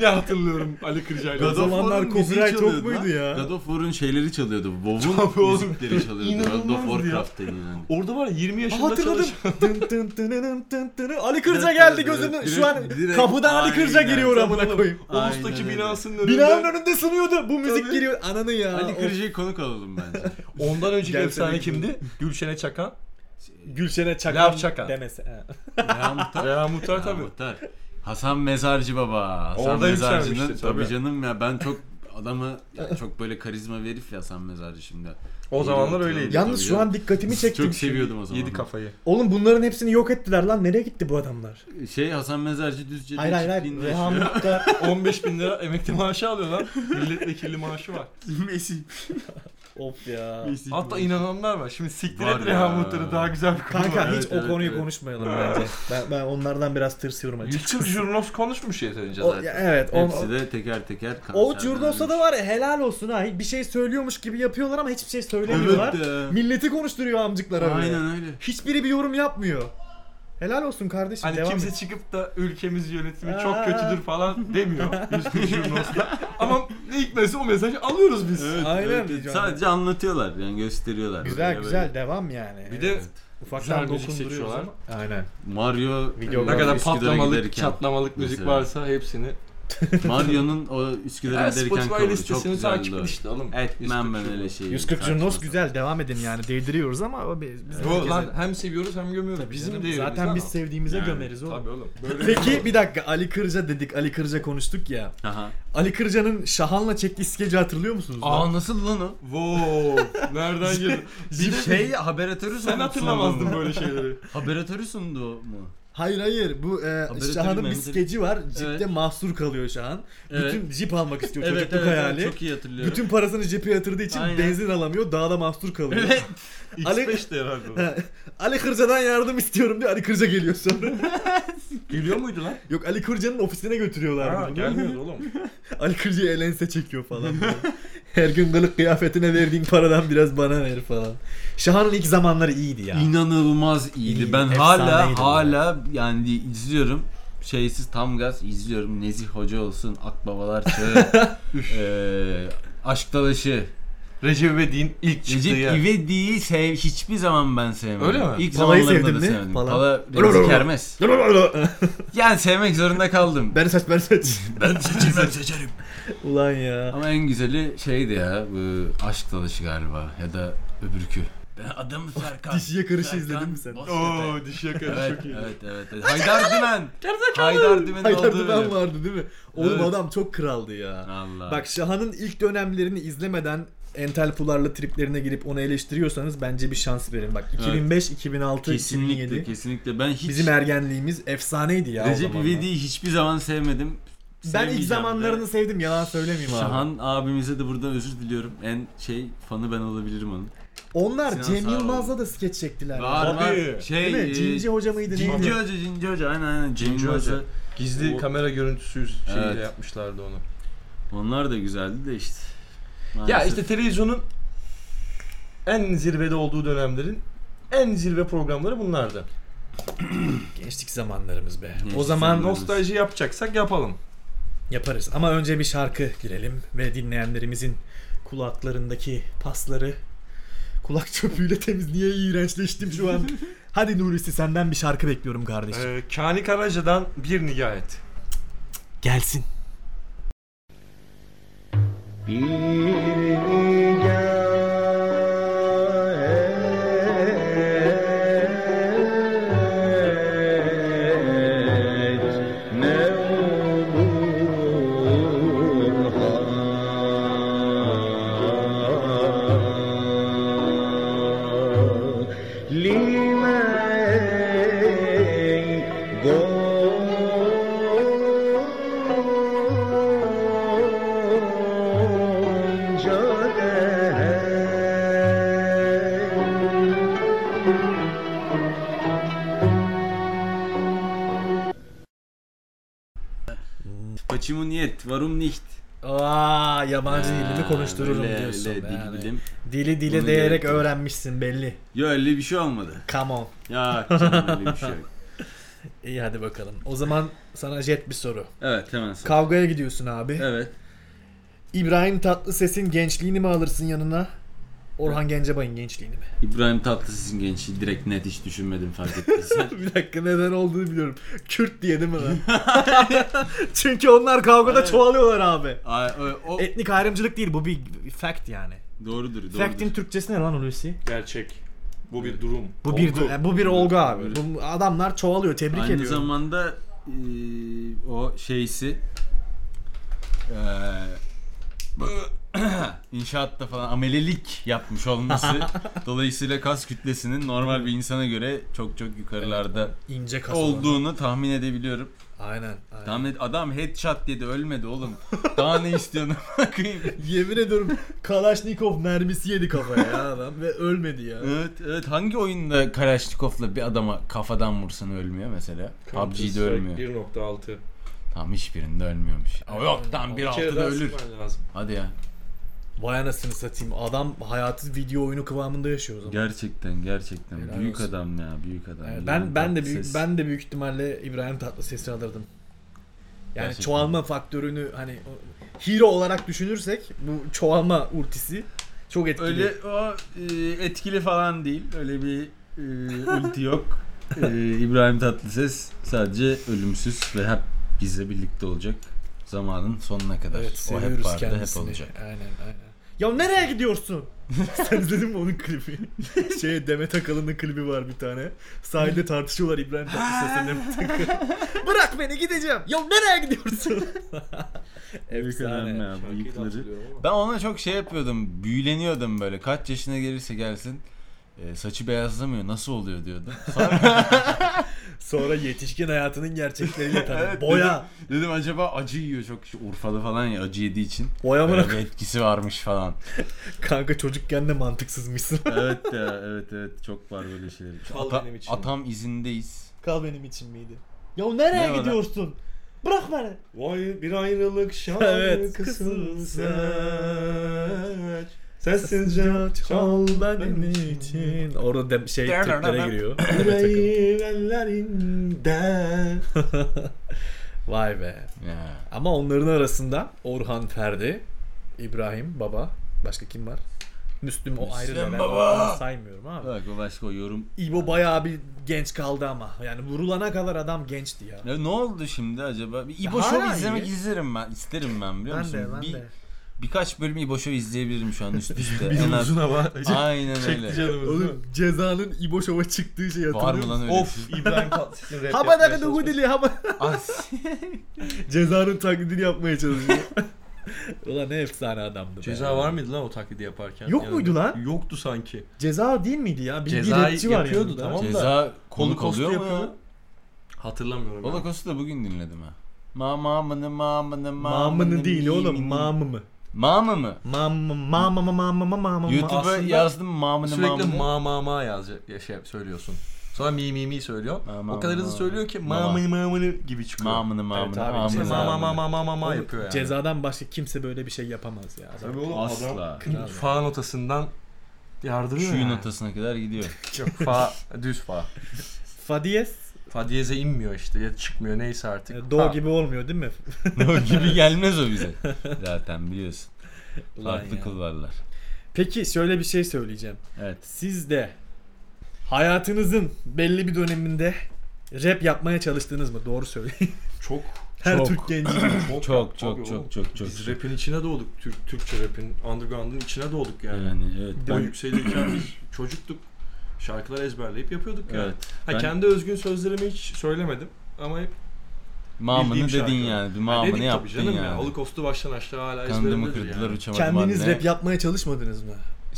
Speaker 2: ne hatırlıyorum Ali Kırca'yla.
Speaker 4: O zamanlar
Speaker 3: War'un müziği
Speaker 4: copyright çok
Speaker 3: çalıyordu lan.
Speaker 4: muydu ya?
Speaker 3: God of War'un şeyleri çalıyordu.
Speaker 2: Tabii
Speaker 3: WoW'un
Speaker 2: oğlum.
Speaker 3: müzikleri çalıyordu. God of
Speaker 2: İnanılmazdı ya.
Speaker 3: Warcraft'ta yani.
Speaker 2: Orada var ya 20
Speaker 4: Aa,
Speaker 2: yaşında
Speaker 4: hatırladım.
Speaker 2: çalışan-
Speaker 4: Tın tın tınının tın tını. Ali Kırca geldi gözümün. Şu an
Speaker 3: Direkt-
Speaker 4: kapıdan Ali Kırca
Speaker 3: Aynen.
Speaker 4: giriyor amına
Speaker 2: Tabii.
Speaker 4: koyayım.
Speaker 3: Aynen
Speaker 2: Ulus'taki
Speaker 3: öyle.
Speaker 2: binasının önünde.
Speaker 4: Binanın önünde sınıyordu. Bu müzik
Speaker 2: Tabii.
Speaker 4: giriyor. Ananı ya.
Speaker 3: Ali
Speaker 4: O-
Speaker 3: Kırca'yı konuk alalım bence.
Speaker 2: Ondan önceki
Speaker 4: Gelsene
Speaker 2: efsane
Speaker 4: Gülşen.
Speaker 2: kimdi? Gülşen'e Çakan.
Speaker 4: Gülşen'e çakan,
Speaker 2: Laf çakan.
Speaker 4: demesi. Ha.
Speaker 3: Reha Muhtar.
Speaker 2: Reha Muhtar
Speaker 3: Reha
Speaker 2: tabii.
Speaker 3: Muhtar. Hasan Mezarcı Baba. Hasan
Speaker 2: Orada
Speaker 3: Mezarcı'nın tabii.
Speaker 2: yükselmişti, tabii.
Speaker 3: canım ya ben çok adamı yani çok böyle karizma verif ya Hasan Mezarcı şimdi.
Speaker 2: O zamanlar
Speaker 3: Tabii
Speaker 2: öyleydi.
Speaker 4: Yalnız şu an dikkatimi çekti.
Speaker 3: Çok seviyordum o zaman.
Speaker 2: Yedi kafayı.
Speaker 4: Oğlum bunların hepsini yok ettiler lan. Nereye gitti bu adamlar?
Speaker 3: Şey Hasan Mezarcı Düzce'de
Speaker 4: Hayır hayır hayır.
Speaker 3: çiftliğinde
Speaker 4: Reha
Speaker 3: yaşıyor.
Speaker 4: Muhtar.
Speaker 2: 15 bin lira emekli maaşı alıyor lan. Milletvekili maaşı var.
Speaker 3: Mesih.
Speaker 4: of ya.
Speaker 2: Hatta inananlar var. Şimdi siktir
Speaker 3: Var
Speaker 2: et Reha
Speaker 3: ya.
Speaker 2: Muhtar'ı daha güzel bir konu
Speaker 4: Kanka
Speaker 2: var.
Speaker 4: hiç
Speaker 3: Evet,
Speaker 4: o
Speaker 3: evet,
Speaker 4: konuyu
Speaker 3: evet.
Speaker 4: konuşmayalım bence. Ben, ben onlardan biraz tırsıyorum açıkçası.
Speaker 2: Yusuf Jurnos konuşmuş yeterince
Speaker 4: O-
Speaker 2: zaten.
Speaker 4: ya evet. o-
Speaker 3: Hepsi de teker teker
Speaker 4: o
Speaker 3: kanserden
Speaker 4: Curnos'a da var ya helal olsun ha. Bir şey söylüyormuş gibi yapıyorlar ama hiçbir şey söylemiyorlar.
Speaker 3: Evet de.
Speaker 4: Milleti konuşturuyor amcıklara böyle.
Speaker 3: Aynen öyle.
Speaker 4: Hiçbiri bir yorum yapmıyor. Helal olsun kardeşim
Speaker 2: Hani
Speaker 4: devam
Speaker 2: kimse
Speaker 4: et.
Speaker 2: çıkıp da ülkemiz yönetimi
Speaker 4: Aa.
Speaker 2: çok kötüdür falan demiyor Yusuf Jurnos'ta. Ama ne hikmetse o mesajı alıyoruz biz.
Speaker 4: Aynen.
Speaker 3: evet. Sadece anlatıyorlar yani gösteriyorlar.
Speaker 4: Güzel
Speaker 3: Böyle
Speaker 4: güzel
Speaker 3: böyle.
Speaker 4: devam yani.
Speaker 2: Bir de
Speaker 4: ufaktan
Speaker 2: müzik
Speaker 4: dokunduruyorlar.
Speaker 2: seçiyorlar.
Speaker 4: Aynen.
Speaker 3: Mario
Speaker 4: Video
Speaker 2: ne kadar
Speaker 3: Üsküdar'a
Speaker 2: patlamalık,
Speaker 3: giderken.
Speaker 2: çatlamalık müzik
Speaker 3: Mesela.
Speaker 2: varsa hepsini
Speaker 3: Mario'nun o Üsküdar'ın
Speaker 2: Yani
Speaker 3: derken
Speaker 2: Spotify
Speaker 3: kavuru çok
Speaker 2: listesini takip edin
Speaker 3: güzeldi.
Speaker 2: işte oğlum.
Speaker 3: Etmem ben öyle şeyi.
Speaker 4: 140
Speaker 3: Saçma
Speaker 4: Jurnos
Speaker 3: sapan.
Speaker 4: güzel devam edin yani değdiriyoruz ama o biz, biz
Speaker 2: Yo lan hem seviyoruz hem gömüyoruz. Bizim
Speaker 4: Bizim
Speaker 2: değerimiz
Speaker 4: zaten
Speaker 2: lan
Speaker 4: biz
Speaker 2: o.
Speaker 4: sevdiğimize
Speaker 3: Yani,
Speaker 4: gömeriz oğlum.
Speaker 2: Tabii oğlum. Böyle
Speaker 4: Peki bir dakika Ali Kırca dedik Ali Kırca konuştuk ya.
Speaker 3: Aha.
Speaker 4: Ali Kırca'nın Şahan'la çektiği skeci hatırlıyor musunuz? lan?
Speaker 3: Aa nasıl lan o?
Speaker 2: Wow. Nereden geldi?
Speaker 3: Bir şey haberatörü sundu.
Speaker 2: Sen hatırlamazdın böyle şeyleri.
Speaker 3: Haberatörü sundu o mu?
Speaker 4: Hayır hayır bu e,
Speaker 3: Haberi
Speaker 4: Şahan'ın bir
Speaker 3: duymayayım.
Speaker 4: skeci var. Cipte
Speaker 3: Evet.
Speaker 4: mahsur kalıyor Şahan.
Speaker 3: Evet.
Speaker 4: Bütün cip almak istiyor
Speaker 3: Evet,
Speaker 4: çocukluk
Speaker 3: evet, evet,
Speaker 4: hayali.
Speaker 3: çok iyi hatırlıyorum.
Speaker 4: Bütün parasını cepe yatırdığı için
Speaker 3: Aynen.
Speaker 4: benzin alamıyor. Dağda mahsur kalıyor.
Speaker 3: Evet.
Speaker 4: Ali-
Speaker 2: X5'ti herhalde. o.
Speaker 4: Ali Kırca'dan yardım istiyorum diye Ali Kırca geliyor sonra.
Speaker 2: Geliyor muydu lan?
Speaker 4: Yok Ali Kırca'nın ofisine
Speaker 2: Ha,
Speaker 4: götürüyorlar bunu.
Speaker 2: gelmiyordu oğlum.
Speaker 4: Ali Kırca'yı elense çekiyor falan. böyle. Her gün kılık kıyafetine verdiğin paradan biraz bana ver falan. Şahan'ın ilk zamanları iyiydi ya.
Speaker 3: İnanılmaz iyiydi.
Speaker 4: İyi,
Speaker 3: ben
Speaker 4: efsaneydi
Speaker 3: hala
Speaker 4: bu.
Speaker 3: hala yani izliyorum. Şeysiz tam gaz izliyorum. Nezih Hoca olsun, Akbabalar Çağı, eee Aşk Dalaşı.
Speaker 2: Recep İvedik'in ilk çıktığı
Speaker 3: Recep
Speaker 2: yer.
Speaker 3: İvedik'i sev, hiçbir zaman ben sevmedim.
Speaker 2: Öyle mi?
Speaker 3: İlk
Speaker 4: Pala'yı
Speaker 3: zamanlarında da
Speaker 4: sevdin mi?
Speaker 3: sevmedim.
Speaker 4: Pala.
Speaker 3: Pala,
Speaker 4: Alo, alo,
Speaker 3: Remzi
Speaker 4: alo.
Speaker 3: Kermes. Yani sevmek zorunda kaldım.
Speaker 4: ben saç ben saç.
Speaker 3: ben seçerim, seçerim.
Speaker 4: Ulan ya.
Speaker 3: Ama en güzeli şeydi ya, bu Aşk Dalaşı galiba ya da öbürkü. Ben adamı Serkan.
Speaker 4: Dişiye karışı Oh, izledin mi sen?
Speaker 2: Oo dişi yakarı
Speaker 3: Evet,
Speaker 2: çok iyi.
Speaker 3: evet, evet, evet. Haydar Dümen. Haydar Dümen'in
Speaker 4: Haydar
Speaker 3: olduğu
Speaker 4: Dümen
Speaker 3: bölüm.
Speaker 4: vardı değil mi? Oğlum
Speaker 3: Evet.
Speaker 4: adam çok kraldı ya.
Speaker 3: Allah.
Speaker 4: Bak Şahan'ın ilk dönemlerini izlemeden entel pularla triplerine girip onu eleştiriyorsanız bence bir şans verin. Bak 2005, 2006,
Speaker 3: kesinlikle
Speaker 4: 2007
Speaker 3: kesinlikle ben hiç
Speaker 4: bizim ergenliğimiz efsaneydi ya o
Speaker 3: Recep
Speaker 4: zamanlar.
Speaker 3: İvedik'i hiçbir zaman sevmedim.
Speaker 4: Ben ilk
Speaker 3: Sevmeyeceğim de.
Speaker 4: zamanlarını sevdim yalan söylemeyeyim abi.
Speaker 3: Şahan abimize de burada özür diliyorum. En şey fanı ben olabilirim onun.
Speaker 4: Onlar
Speaker 3: Sinan
Speaker 4: Cem
Speaker 3: Sağol.
Speaker 4: Yılmaz'la da skeç çektiler.
Speaker 3: Var
Speaker 4: ya.
Speaker 3: var.
Speaker 4: Değil
Speaker 3: Şey,
Speaker 4: mi? Cinci Hoca mıydı
Speaker 3: Cinci
Speaker 4: neydi?
Speaker 3: Hoca, Cinci Hoca. Aynen aynen. Cem
Speaker 2: Cinci Hoca.
Speaker 3: Yılmaz'ı.
Speaker 2: Gizli
Speaker 3: O-
Speaker 2: kamera görüntüsü şeyiyle
Speaker 3: Evet.
Speaker 2: yapmışlardı onu.
Speaker 3: Onlar da güzeldi de işte.
Speaker 2: Ya
Speaker 3: Maalesef.
Speaker 2: işte televizyonun en zirvede olduğu dönemlerin en zirve programları bunlardı.
Speaker 4: Gençlik zamanlarımız be.
Speaker 3: Gençlik
Speaker 4: o zaman
Speaker 3: zamanlarımız.
Speaker 2: Nostalji yapacaksak yapalım.
Speaker 4: yaparız. Ama önce bir şarkı girelim ve dinleyenlerimizin kulaklarındaki pasları kulak çöpüyle temiz. Niye iğrençleştim şu an? Hadi Nurisi senden bir şarkı bekliyorum kardeşim.
Speaker 2: Ee, Kani Karaca'dan bir nigayet.
Speaker 4: Gelsin.
Speaker 3: Paçimu niyet, varum nicht.
Speaker 4: Aa yabancı dilimi
Speaker 3: Ha,
Speaker 4: konuştururum
Speaker 3: öyle,
Speaker 4: diyorsun.
Speaker 3: öyle, dil
Speaker 4: yani.
Speaker 3: bilim.
Speaker 4: Dili dile
Speaker 3: Bunu
Speaker 4: değerek
Speaker 3: gerek yok.
Speaker 4: öğrenmişsin belli.
Speaker 3: Yo öyle bir şey olmadı.
Speaker 4: Come on.
Speaker 3: Ya canım, öyle bir şey yok.
Speaker 4: İyi hadi bakalım. O zaman sana jet bir soru.
Speaker 3: Evet hemen sor.
Speaker 4: Kavgaya gidiyorsun abi.
Speaker 3: Evet.
Speaker 4: İbrahim Tatlıses'in gençliğini mi alırsın yanına? Orhan Gencebay'ın gençliğini mi?
Speaker 3: İbrahim Tatlıses'in gençliği direkt net hiç düşünmedim fark ettiysen.
Speaker 4: bir dakika neden olduğunu biliyorum. Kürt diye değil mi lan? Çünkü onlar kavgada çoğalıyorlar abi.
Speaker 3: Ay, o, o-
Speaker 4: Etnik ayrımcılık değil bu bir fact yani.
Speaker 3: doğrudur, doğrudur.
Speaker 4: Fact'in Türkçesi ne lan Hulusi?
Speaker 2: Gerçek. Bu bir durum.
Speaker 4: Bu bir e,
Speaker 2: Olgu.
Speaker 4: bu bir olgu abi. Bu adamlar çoğalıyor tebrik
Speaker 3: Aynı
Speaker 4: ediyorum.
Speaker 3: zamanda eee, o şeysi e, eee, bu- inşaatta falan amelelik yapmış olması dolayısıyla kas kütlesinin normal bir insana göre çok çok yukarılarda
Speaker 4: İnce kas olan.
Speaker 3: olduğunu tahmin edebiliyorum.
Speaker 4: Aynen. aynen.
Speaker 3: Tahmin et- adam headshot dedi ölmedi oğlum. Daha ne istiyorsun bakayım.
Speaker 4: Yemin ediyorum Kalaşnikov mermisi yedi kafaya ya adam ve ölmedi ya.
Speaker 3: Evet, evet. Hangi oyunda Kalashnikov'la bir adama kafadan vursan ölmüyor mesela? PUBG'de ölmüyor.
Speaker 2: 1.6.
Speaker 3: Tam hiçbirinde ölmüyormuş. Aa, Yok tam bir
Speaker 2: kere
Speaker 3: altıda
Speaker 2: daha
Speaker 3: ölür.
Speaker 2: sıkman lazım.
Speaker 3: Hadi ya.
Speaker 4: Vay anasını satayım. Adam hayatı video oyunu kıvamında yaşıyor o zaman.
Speaker 3: Gerçekten gerçekten
Speaker 4: Helal
Speaker 3: büyük
Speaker 4: olsun.
Speaker 3: adam ya büyük adam.
Speaker 4: Evet,
Speaker 3: İbrahim
Speaker 4: Ee, ben ben de büyük
Speaker 3: Tatlıses.
Speaker 4: ben de büyük ihtimalle İbrahim Tatlıses'i alırdım. Yani
Speaker 3: Gerçekten.
Speaker 4: çoğalma faktörünü hani o- hero olarak düşünürsek bu çoğalma urtisi çok etkili.
Speaker 3: öyle o e, etkili falan değil. Öyle bir e, ulti yok. E, İbrahim Tatlıses sadece ölümsüz ve hep bizle birlikte olacak. Zamanın sonuna kadar.
Speaker 4: Evet
Speaker 3: o hep
Speaker 4: seviyoruz
Speaker 3: vardı, hep
Speaker 4: kendisini.
Speaker 3: olacak.
Speaker 4: Aynen aynen. Ya nereye gidiyorsun? Sen izledin mi onun klibi? şey Demet Akalın'ın klibi var bir tane. Sahilde tartışıyorlar İbrahim Tatlıses'le Demet Akalın. Bırak beni gideceğim. Ya nereye gidiyorsun?
Speaker 3: Büyük önemli
Speaker 4: Efsane.
Speaker 3: ya, bu
Speaker 2: Şarkıyı da
Speaker 3: yıkları.
Speaker 2: hatırlıyorum ama.
Speaker 3: Ben ona çok şey yapıyordum, büyüleniyordum böyle. Kaç yaşına gelirse gelsin e, saçı beyazlamıyor, nasıl oluyor diyordum. Sonra
Speaker 4: Sonra yetişkin hayatının gerçekleriyle tanı. Boya.
Speaker 3: dedim, dedim acaba acı yiyor çok şu Urfalı falan ya acı yediği için.
Speaker 4: Boya
Speaker 3: Böyle
Speaker 4: bırak.
Speaker 3: bir etkisi varmış falan.
Speaker 4: Kanka çocukken de mantıksızmışsın.
Speaker 3: evet ya evet evet çok var böyle şeyler.
Speaker 2: Kal
Speaker 3: Ata-
Speaker 2: benim için.
Speaker 3: atam izindeyiz.
Speaker 4: Kal benim için miydi? Ya nereye
Speaker 3: Ne o lan?
Speaker 4: gidiyorsun? Bırak beni.
Speaker 2: Vay bir ayrılık
Speaker 4: Evet.
Speaker 2: şarkısın sen.
Speaker 4: Sensiz can çal benim için. Orada dem- şey triplere giriyor.
Speaker 2: Yüreği ellerinde.
Speaker 4: Vay be.
Speaker 3: Ya.
Speaker 4: Ama onların arasında Orhan Ferdi, İbrahim Baba, başka kim var? Müslüm o ayrı da
Speaker 3: Müslüm
Speaker 4: ben
Speaker 3: Baba.
Speaker 4: onu saymıyorum abi.
Speaker 3: Bak o başka o yorum.
Speaker 4: İbo bayağı bir genç kaldı ama. Yani vurulana kadar adam gençti ya.
Speaker 3: Ya ne oldu şimdi acaba? Bir İbo
Speaker 4: Ya
Speaker 3: Show
Speaker 4: hala
Speaker 3: izlemek
Speaker 4: iyi.
Speaker 3: izlerim ben. isterim ben biliyor
Speaker 4: Ben
Speaker 3: musun?
Speaker 4: de, ben
Speaker 3: Bir-
Speaker 4: de.
Speaker 3: Birkaç bölüm İbo Show izleyebilirim şu an üst üste.
Speaker 2: Bir
Speaker 3: En az-
Speaker 2: uzun hava.
Speaker 3: Aynen öyle.
Speaker 2: Çekti canımızı.
Speaker 4: Oğlum cezanın İbo Show'a çıktığı şey hatırlıyor
Speaker 3: Var mı lan
Speaker 4: musun?
Speaker 3: öyle
Speaker 2: Of İbrahim Tatlıses'in rap
Speaker 4: Haba
Speaker 2: yapmaya
Speaker 4: da dugu
Speaker 2: çalışması.
Speaker 4: dili haba.
Speaker 3: As.
Speaker 4: Cezanın taklidini yapmaya çalışıyor. Ulan ne efsane adamdı be.
Speaker 2: Ceza var mıydı lan o taklidi yaparken?
Speaker 4: Yok muydu lan?
Speaker 2: Yoktu sanki.
Speaker 4: Ceza değil miydi ya? Bir
Speaker 2: Ceza
Speaker 4: direkçi var
Speaker 2: yapıyordu,
Speaker 4: yanında.
Speaker 2: tamam.
Speaker 3: Ceza konuk
Speaker 2: Holocaust'u
Speaker 3: oluyor mu
Speaker 2: yapıyor.
Speaker 3: ya?
Speaker 2: Hatırlamıyorum. ya.
Speaker 3: Holocaust'u da bugün dinledim ha. Ma mamını mamını
Speaker 4: Mamını değil oğlum
Speaker 3: mimini.
Speaker 4: mamımı.
Speaker 3: Mamı mı?
Speaker 4: Mamı mamı mamı mamı mamı.
Speaker 3: YouTube'a
Speaker 2: Aslında
Speaker 3: yazdım mamını
Speaker 2: Sürekli
Speaker 3: mamını.
Speaker 2: ma ma ma yazacak ya şey söylüyorsun. Sonra mi mi mi söylüyor.
Speaker 3: Ma, ma,
Speaker 2: o kadar
Speaker 3: ma,
Speaker 2: hızlı
Speaker 3: ma.
Speaker 2: söylüyor ki ma
Speaker 3: Ma.
Speaker 2: mı ma mı gibi çıkıyor.
Speaker 3: Mamını mamını
Speaker 4: Evet abi,
Speaker 3: mamını.
Speaker 4: ceza-
Speaker 2: ma ma ma
Speaker 3: mamını.
Speaker 2: ma ma ma ma yapıyor yani.
Speaker 4: Cezadan başka kimse böyle bir şey yapamaz ya.
Speaker 2: Tabii oğlum
Speaker 3: Asla.
Speaker 2: adam fa notasından yardırıyor
Speaker 3: Şu
Speaker 2: yani.
Speaker 3: notasına kadar gidiyor.
Speaker 2: Yok fa düz fa.
Speaker 4: Fa diyez
Speaker 2: Fa diyeze inmiyor işte ya çıkmıyor neyse artık.
Speaker 4: e, do
Speaker 2: Fa.
Speaker 4: gibi olmuyor değil mi?
Speaker 3: o gibi gelmez o bize. Zaten biliyorsun.
Speaker 4: Ulan
Speaker 3: Farklı
Speaker 4: ya.
Speaker 3: kulvarlar.
Speaker 4: Peki şöyle bir şey söyleyeceğim.
Speaker 3: Evet.
Speaker 4: Siz de hayatınızın belli bir döneminde rap yapmaya çalıştınız mı? Doğru söyleyin.
Speaker 2: Çok
Speaker 4: Her
Speaker 3: Çok.
Speaker 4: Türk genci.
Speaker 3: Çok
Speaker 2: Abi
Speaker 3: çok
Speaker 2: oğlum,
Speaker 3: çok çok çok.
Speaker 2: Biz rapin içine doğduk. Türk, Türkçe rapin, underground'un içine doğduk yani.
Speaker 3: Yani evet.
Speaker 2: O
Speaker 3: Ben-
Speaker 2: yükselirken biz çocuktuk. Şarkılar ezberleyip yapıyorduk yani.
Speaker 3: Evet.
Speaker 2: Ha,
Speaker 3: Ben-
Speaker 2: kendi özgün sözlerimi hiç söylemedim ama hep
Speaker 3: Mamını
Speaker 2: Bildiğim
Speaker 3: dedin
Speaker 2: şarkı.
Speaker 3: yani. Bir
Speaker 2: dedik
Speaker 3: mamını
Speaker 2: tabii
Speaker 3: yaptın
Speaker 2: canım ya.
Speaker 3: yani.
Speaker 2: Holocaust'u baştan aşağı hala
Speaker 3: Kanadımı
Speaker 2: ezberimdedir
Speaker 3: kırdılar
Speaker 2: yani.
Speaker 3: uçamadım
Speaker 4: Kendiniz
Speaker 3: anne.
Speaker 4: rap yapmaya çalışmadınız mı?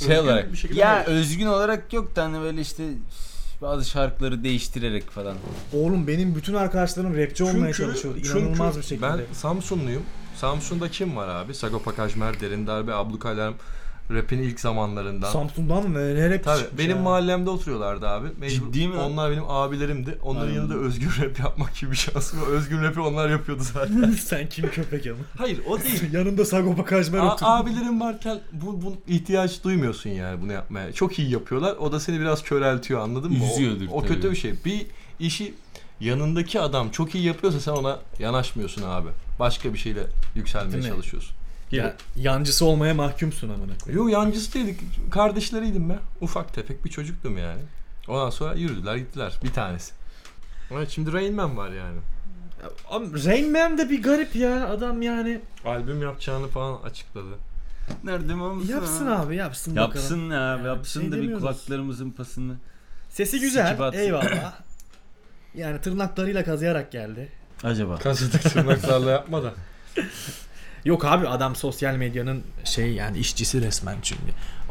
Speaker 3: şey olarak
Speaker 2: bir şekilde
Speaker 3: ya
Speaker 2: yapıyoruz.
Speaker 3: özgün olarak yok da hani böyle işte üf, bazı şarkıları değiştirerek falan.
Speaker 4: Oğlum benim bütün arkadaşlarım rapçi olmaya
Speaker 2: Çünkü-
Speaker 4: çalışıyordu.
Speaker 2: çünkü
Speaker 4: İnanılmaz bir şekilde.
Speaker 2: Ben Samsunluyum. Samsun'da kim var abi? Sagopa Kajmer, Derin Darbe, Abluk Alarm rapin ilk zamanlarından.
Speaker 4: Samsun'dan ne, ne rapçi
Speaker 2: Tabii
Speaker 4: çıkmış
Speaker 2: benim
Speaker 4: ya?
Speaker 2: mahallemde oturuyorlardı abi. Mecbur,
Speaker 3: Ciddi mi lan?
Speaker 2: Onlar benim abilerimdi. Onların
Speaker 3: Aynen.
Speaker 2: yanında özgür rap yapmak gibi bir şansım yok. Özgür rapi onlar yapıyordu zaten.
Speaker 4: Sen kim köpek ama?
Speaker 2: Hayır o değil.
Speaker 4: Yanında Sagopa Kajmer
Speaker 2: A-
Speaker 4: oturuyor.
Speaker 2: abilerin varken bu, bu ihtiyaç duymuyorsun yani bunu yapmaya. Çok iyi yapıyorlar. O da seni biraz köreltiyor anladın mı? O-
Speaker 3: Üzüyordur
Speaker 2: O,
Speaker 3: tabii.
Speaker 2: kötü bir şey. Bir işi yanındaki adam çok iyi yapıyorsa sen ona yanaşmıyorsun abi. Başka bir şeyle yükselmeye
Speaker 4: Değil mi?
Speaker 2: çalışıyorsun. Gibi.
Speaker 4: Ya, yancısı olmaya mahkumsun amına
Speaker 2: Yo
Speaker 4: koyayım.
Speaker 2: yancısı değildik. Kardeşleriydim ben. Ufak tefek bir çocuktum yani. Ondan sonra yürüdüler gittiler. Bir tanesi. Evet, şimdi Rain Man var yani.
Speaker 4: Ama Rain Man de bir garip ya adam yani.
Speaker 2: Albüm yapacağını falan açıkladı.
Speaker 3: Nerede mamısı?
Speaker 4: Yapsın abi yapsın, bakalım.
Speaker 3: Yapsın ya
Speaker 4: Yani
Speaker 3: yapsın
Speaker 4: şey
Speaker 3: da bir
Speaker 4: demiyoruz.
Speaker 3: kulaklarımızın pasını.
Speaker 4: Sesi
Speaker 3: Sikip
Speaker 4: güzel
Speaker 3: atsın.
Speaker 4: eyvallah. Yani tırnaklarıyla kazıyarak geldi.
Speaker 3: Acaba.
Speaker 2: Kazıdık tırnaklarla yapma da.
Speaker 4: Yok abi adam sosyal medyanın şey yani işçisi resmen çünkü.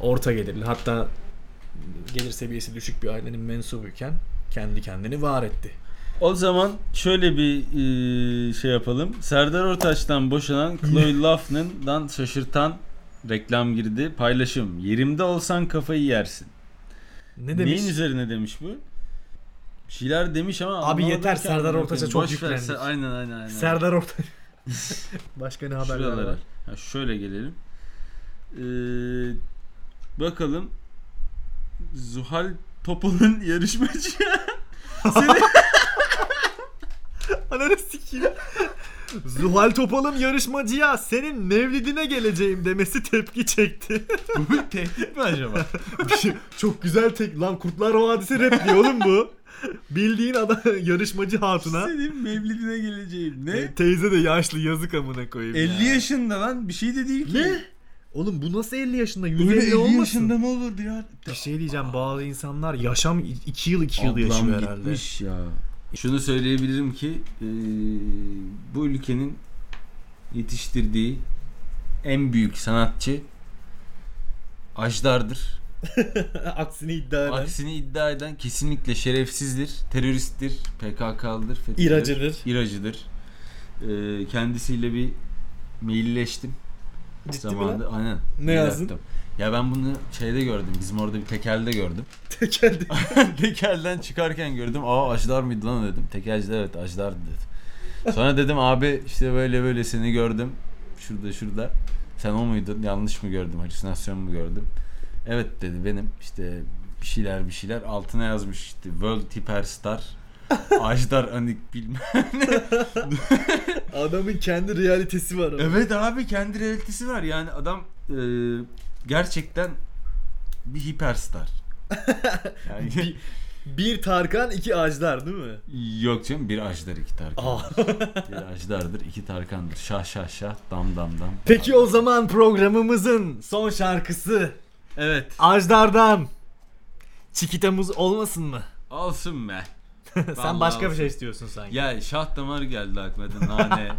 Speaker 4: Orta gelirli hatta gelir seviyesi düşük bir ailenin mensubuyken kendi kendini var etti.
Speaker 3: O zaman şöyle bir e, şey yapalım. Serdar Ortaç'tan boşanan Chloe Laughlin'dan şaşırtan reklam girdi. Paylaşım. Yerimde olsan kafayı yersin.
Speaker 4: Ne demiş?
Speaker 3: Neyin üzerine demiş bu? Bir şeyler demiş ama
Speaker 4: Abi
Speaker 3: anlamadım
Speaker 4: yeter,
Speaker 3: ki
Speaker 4: Serdar
Speaker 3: anlamadım.
Speaker 4: Ortaç'a çok
Speaker 3: Boş ver,
Speaker 4: yüklendik.
Speaker 3: Ser- Aynen aynen aynen.
Speaker 4: Serdar Orta. Başka ne haberler
Speaker 3: Şuralara.
Speaker 4: var?
Speaker 3: Ha, şöyle gelelim. Ee, bakalım. Zuhal Topal'ın yarışmacı.
Speaker 4: Ananı sikeyim. Zuhal Topal'ın yarışmacıya senin mevlidine geleceğim demesi tepki çekti. şey,
Speaker 3: Bu bir tehdit mi acaba?
Speaker 4: Çok güzel tek lan Kurtlar Vadisi rap diyor oğlum bu. Bildiğin adam yarışmacı hatuna. E,
Speaker 3: Senin mevlidine geleceğim. Ne?
Speaker 4: Teyze de yaşlı yazık amına koyayım.
Speaker 3: 50 yaşında lan bir şey de değil ki.
Speaker 4: Ne? Oğlum bu nasıl 50 yaşında?
Speaker 3: Öyle
Speaker 4: 150
Speaker 3: 50
Speaker 4: olmasın.
Speaker 3: yaşında mı olurdu ya?
Speaker 4: Bir şey diyeceğim bazı insanlar yaşam 2 yıl 2 yıl
Speaker 3: Ablam
Speaker 4: yaşıyor herhalde.
Speaker 3: gitmiş ya. Şunu söyleyebilirim ki eee, bu ülkenin yetiştirdiği en büyük sanatçı Ajdar'dır.
Speaker 4: Aksini iddia eden.
Speaker 3: Aksini iddia eden kesinlikle şerefsizdir, teröristtir, PKK'lıdır, FETÖ'dür,
Speaker 4: İracıdır.
Speaker 3: İracıdır. Eee, kendisiyle bir mailleştim.
Speaker 4: Ciddi mi
Speaker 3: zamanında.
Speaker 4: lan?
Speaker 3: Aynen.
Speaker 4: Ne
Speaker 3: Mail
Speaker 4: yazdın?
Speaker 3: attım. Ya ben bunu şeyde gördüm. Bizim orada bir tekelde gördüm.
Speaker 4: Tekeldi.
Speaker 3: Tekelden çıkarken gördüm. Aa Ajdar mıydı lan dedim. Tekelci de evet Ajdar dedi. Sonra dedim abi işte böyle böyle seni gördüm. Şurada şurada. Sen o muydun? Yanlış mı gördüm? Halüsinasyon mu gördüm? Evet dedi benim işte bir şeyler bir şeyler altına yazmış işte World Hyperstar Ajdar Anik bilmem.
Speaker 4: Adamın kendi realitesi var ama.
Speaker 3: Evet abi kendi realitesi var yani adam e, gerçekten bir hiperstar. Yani,
Speaker 4: Bir, bir Tarkan, iki Ajdar değil mi?
Speaker 3: Yok canım bir ajdar iki tarkan.
Speaker 4: Aa.
Speaker 3: bir ajdardır iki tarkandır. Şah şah şah dam dam dam.
Speaker 4: Peki o zaman programımızın son şarkısı
Speaker 3: Evet.
Speaker 4: Ajdar'dan Çikitamız olmasın mı?
Speaker 3: Olsun be.
Speaker 4: Sen
Speaker 3: Vallahi
Speaker 4: başka bir
Speaker 3: olsun.
Speaker 4: şey istiyorsun sanki.
Speaker 3: Ya şah damar geldi aklıma. da Nane nane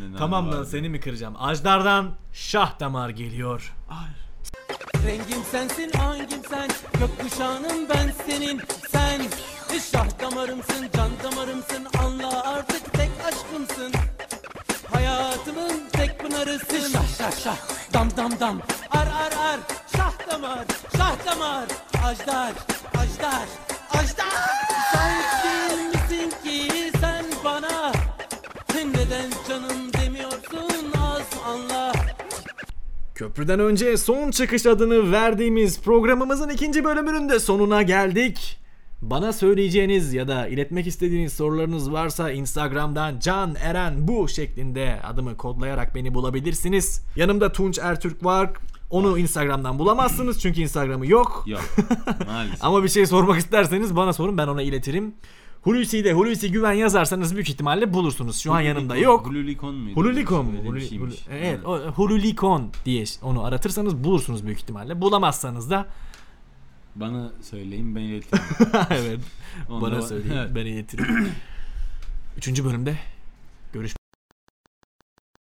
Speaker 3: nane.
Speaker 4: tamam lan
Speaker 3: vardı.
Speaker 4: seni mi kıracağım? Ajdar'dan Şah Damar geliyor.
Speaker 7: Rengim sensin, hangim sen? Gökkuşağının ben senin, sen Şah damarımsın, can damarımsın Anla artık tek aşkımsın Hayatımın tek pınarısın Şah şah şah, dam dam dam Ar ar ar, şah damar, şah damar Ajdar, ajdar, ajdar Sensin misin ki sen bana Neden canım demiyorsun az anla
Speaker 4: Köprüden önce son çıkış adını verdiğimiz programımızın ikinci bölümünün de sonuna geldik. Bana söyleyeceğiniz ya da iletmek istediğiniz sorularınız varsa Instagram'dan Can Eren bu şeklinde adımı kodlayarak beni bulabilirsiniz. Yanımda Tunç Ertürk var. Onu Instagram'dan bulamazsınız çünkü Instagram'ı yok.
Speaker 3: Yok maalesef.
Speaker 4: Ama bir şey sormak isterseniz bana sorun ben ona iletirim. Hulusi'yi de Hulusi Güven yazarsanız büyük ihtimalle bulursunuz. Şu an yanımda yok.
Speaker 3: Hululikon muydu?
Speaker 4: Hululikon mu?
Speaker 3: Öyle
Speaker 4: Hulu-
Speaker 3: bir şeymiş.
Speaker 4: Hulu- evet, o, Hululikon diye onu aratırsanız bulursunuz büyük ihtimalle. Bulamazsanız da
Speaker 3: Bana söyleyin ben iletirim.
Speaker 4: evet
Speaker 3: Onda
Speaker 4: bana
Speaker 3: var-
Speaker 4: söyleyin
Speaker 3: Evet.
Speaker 4: ben iletirim. Üçüncü bölümde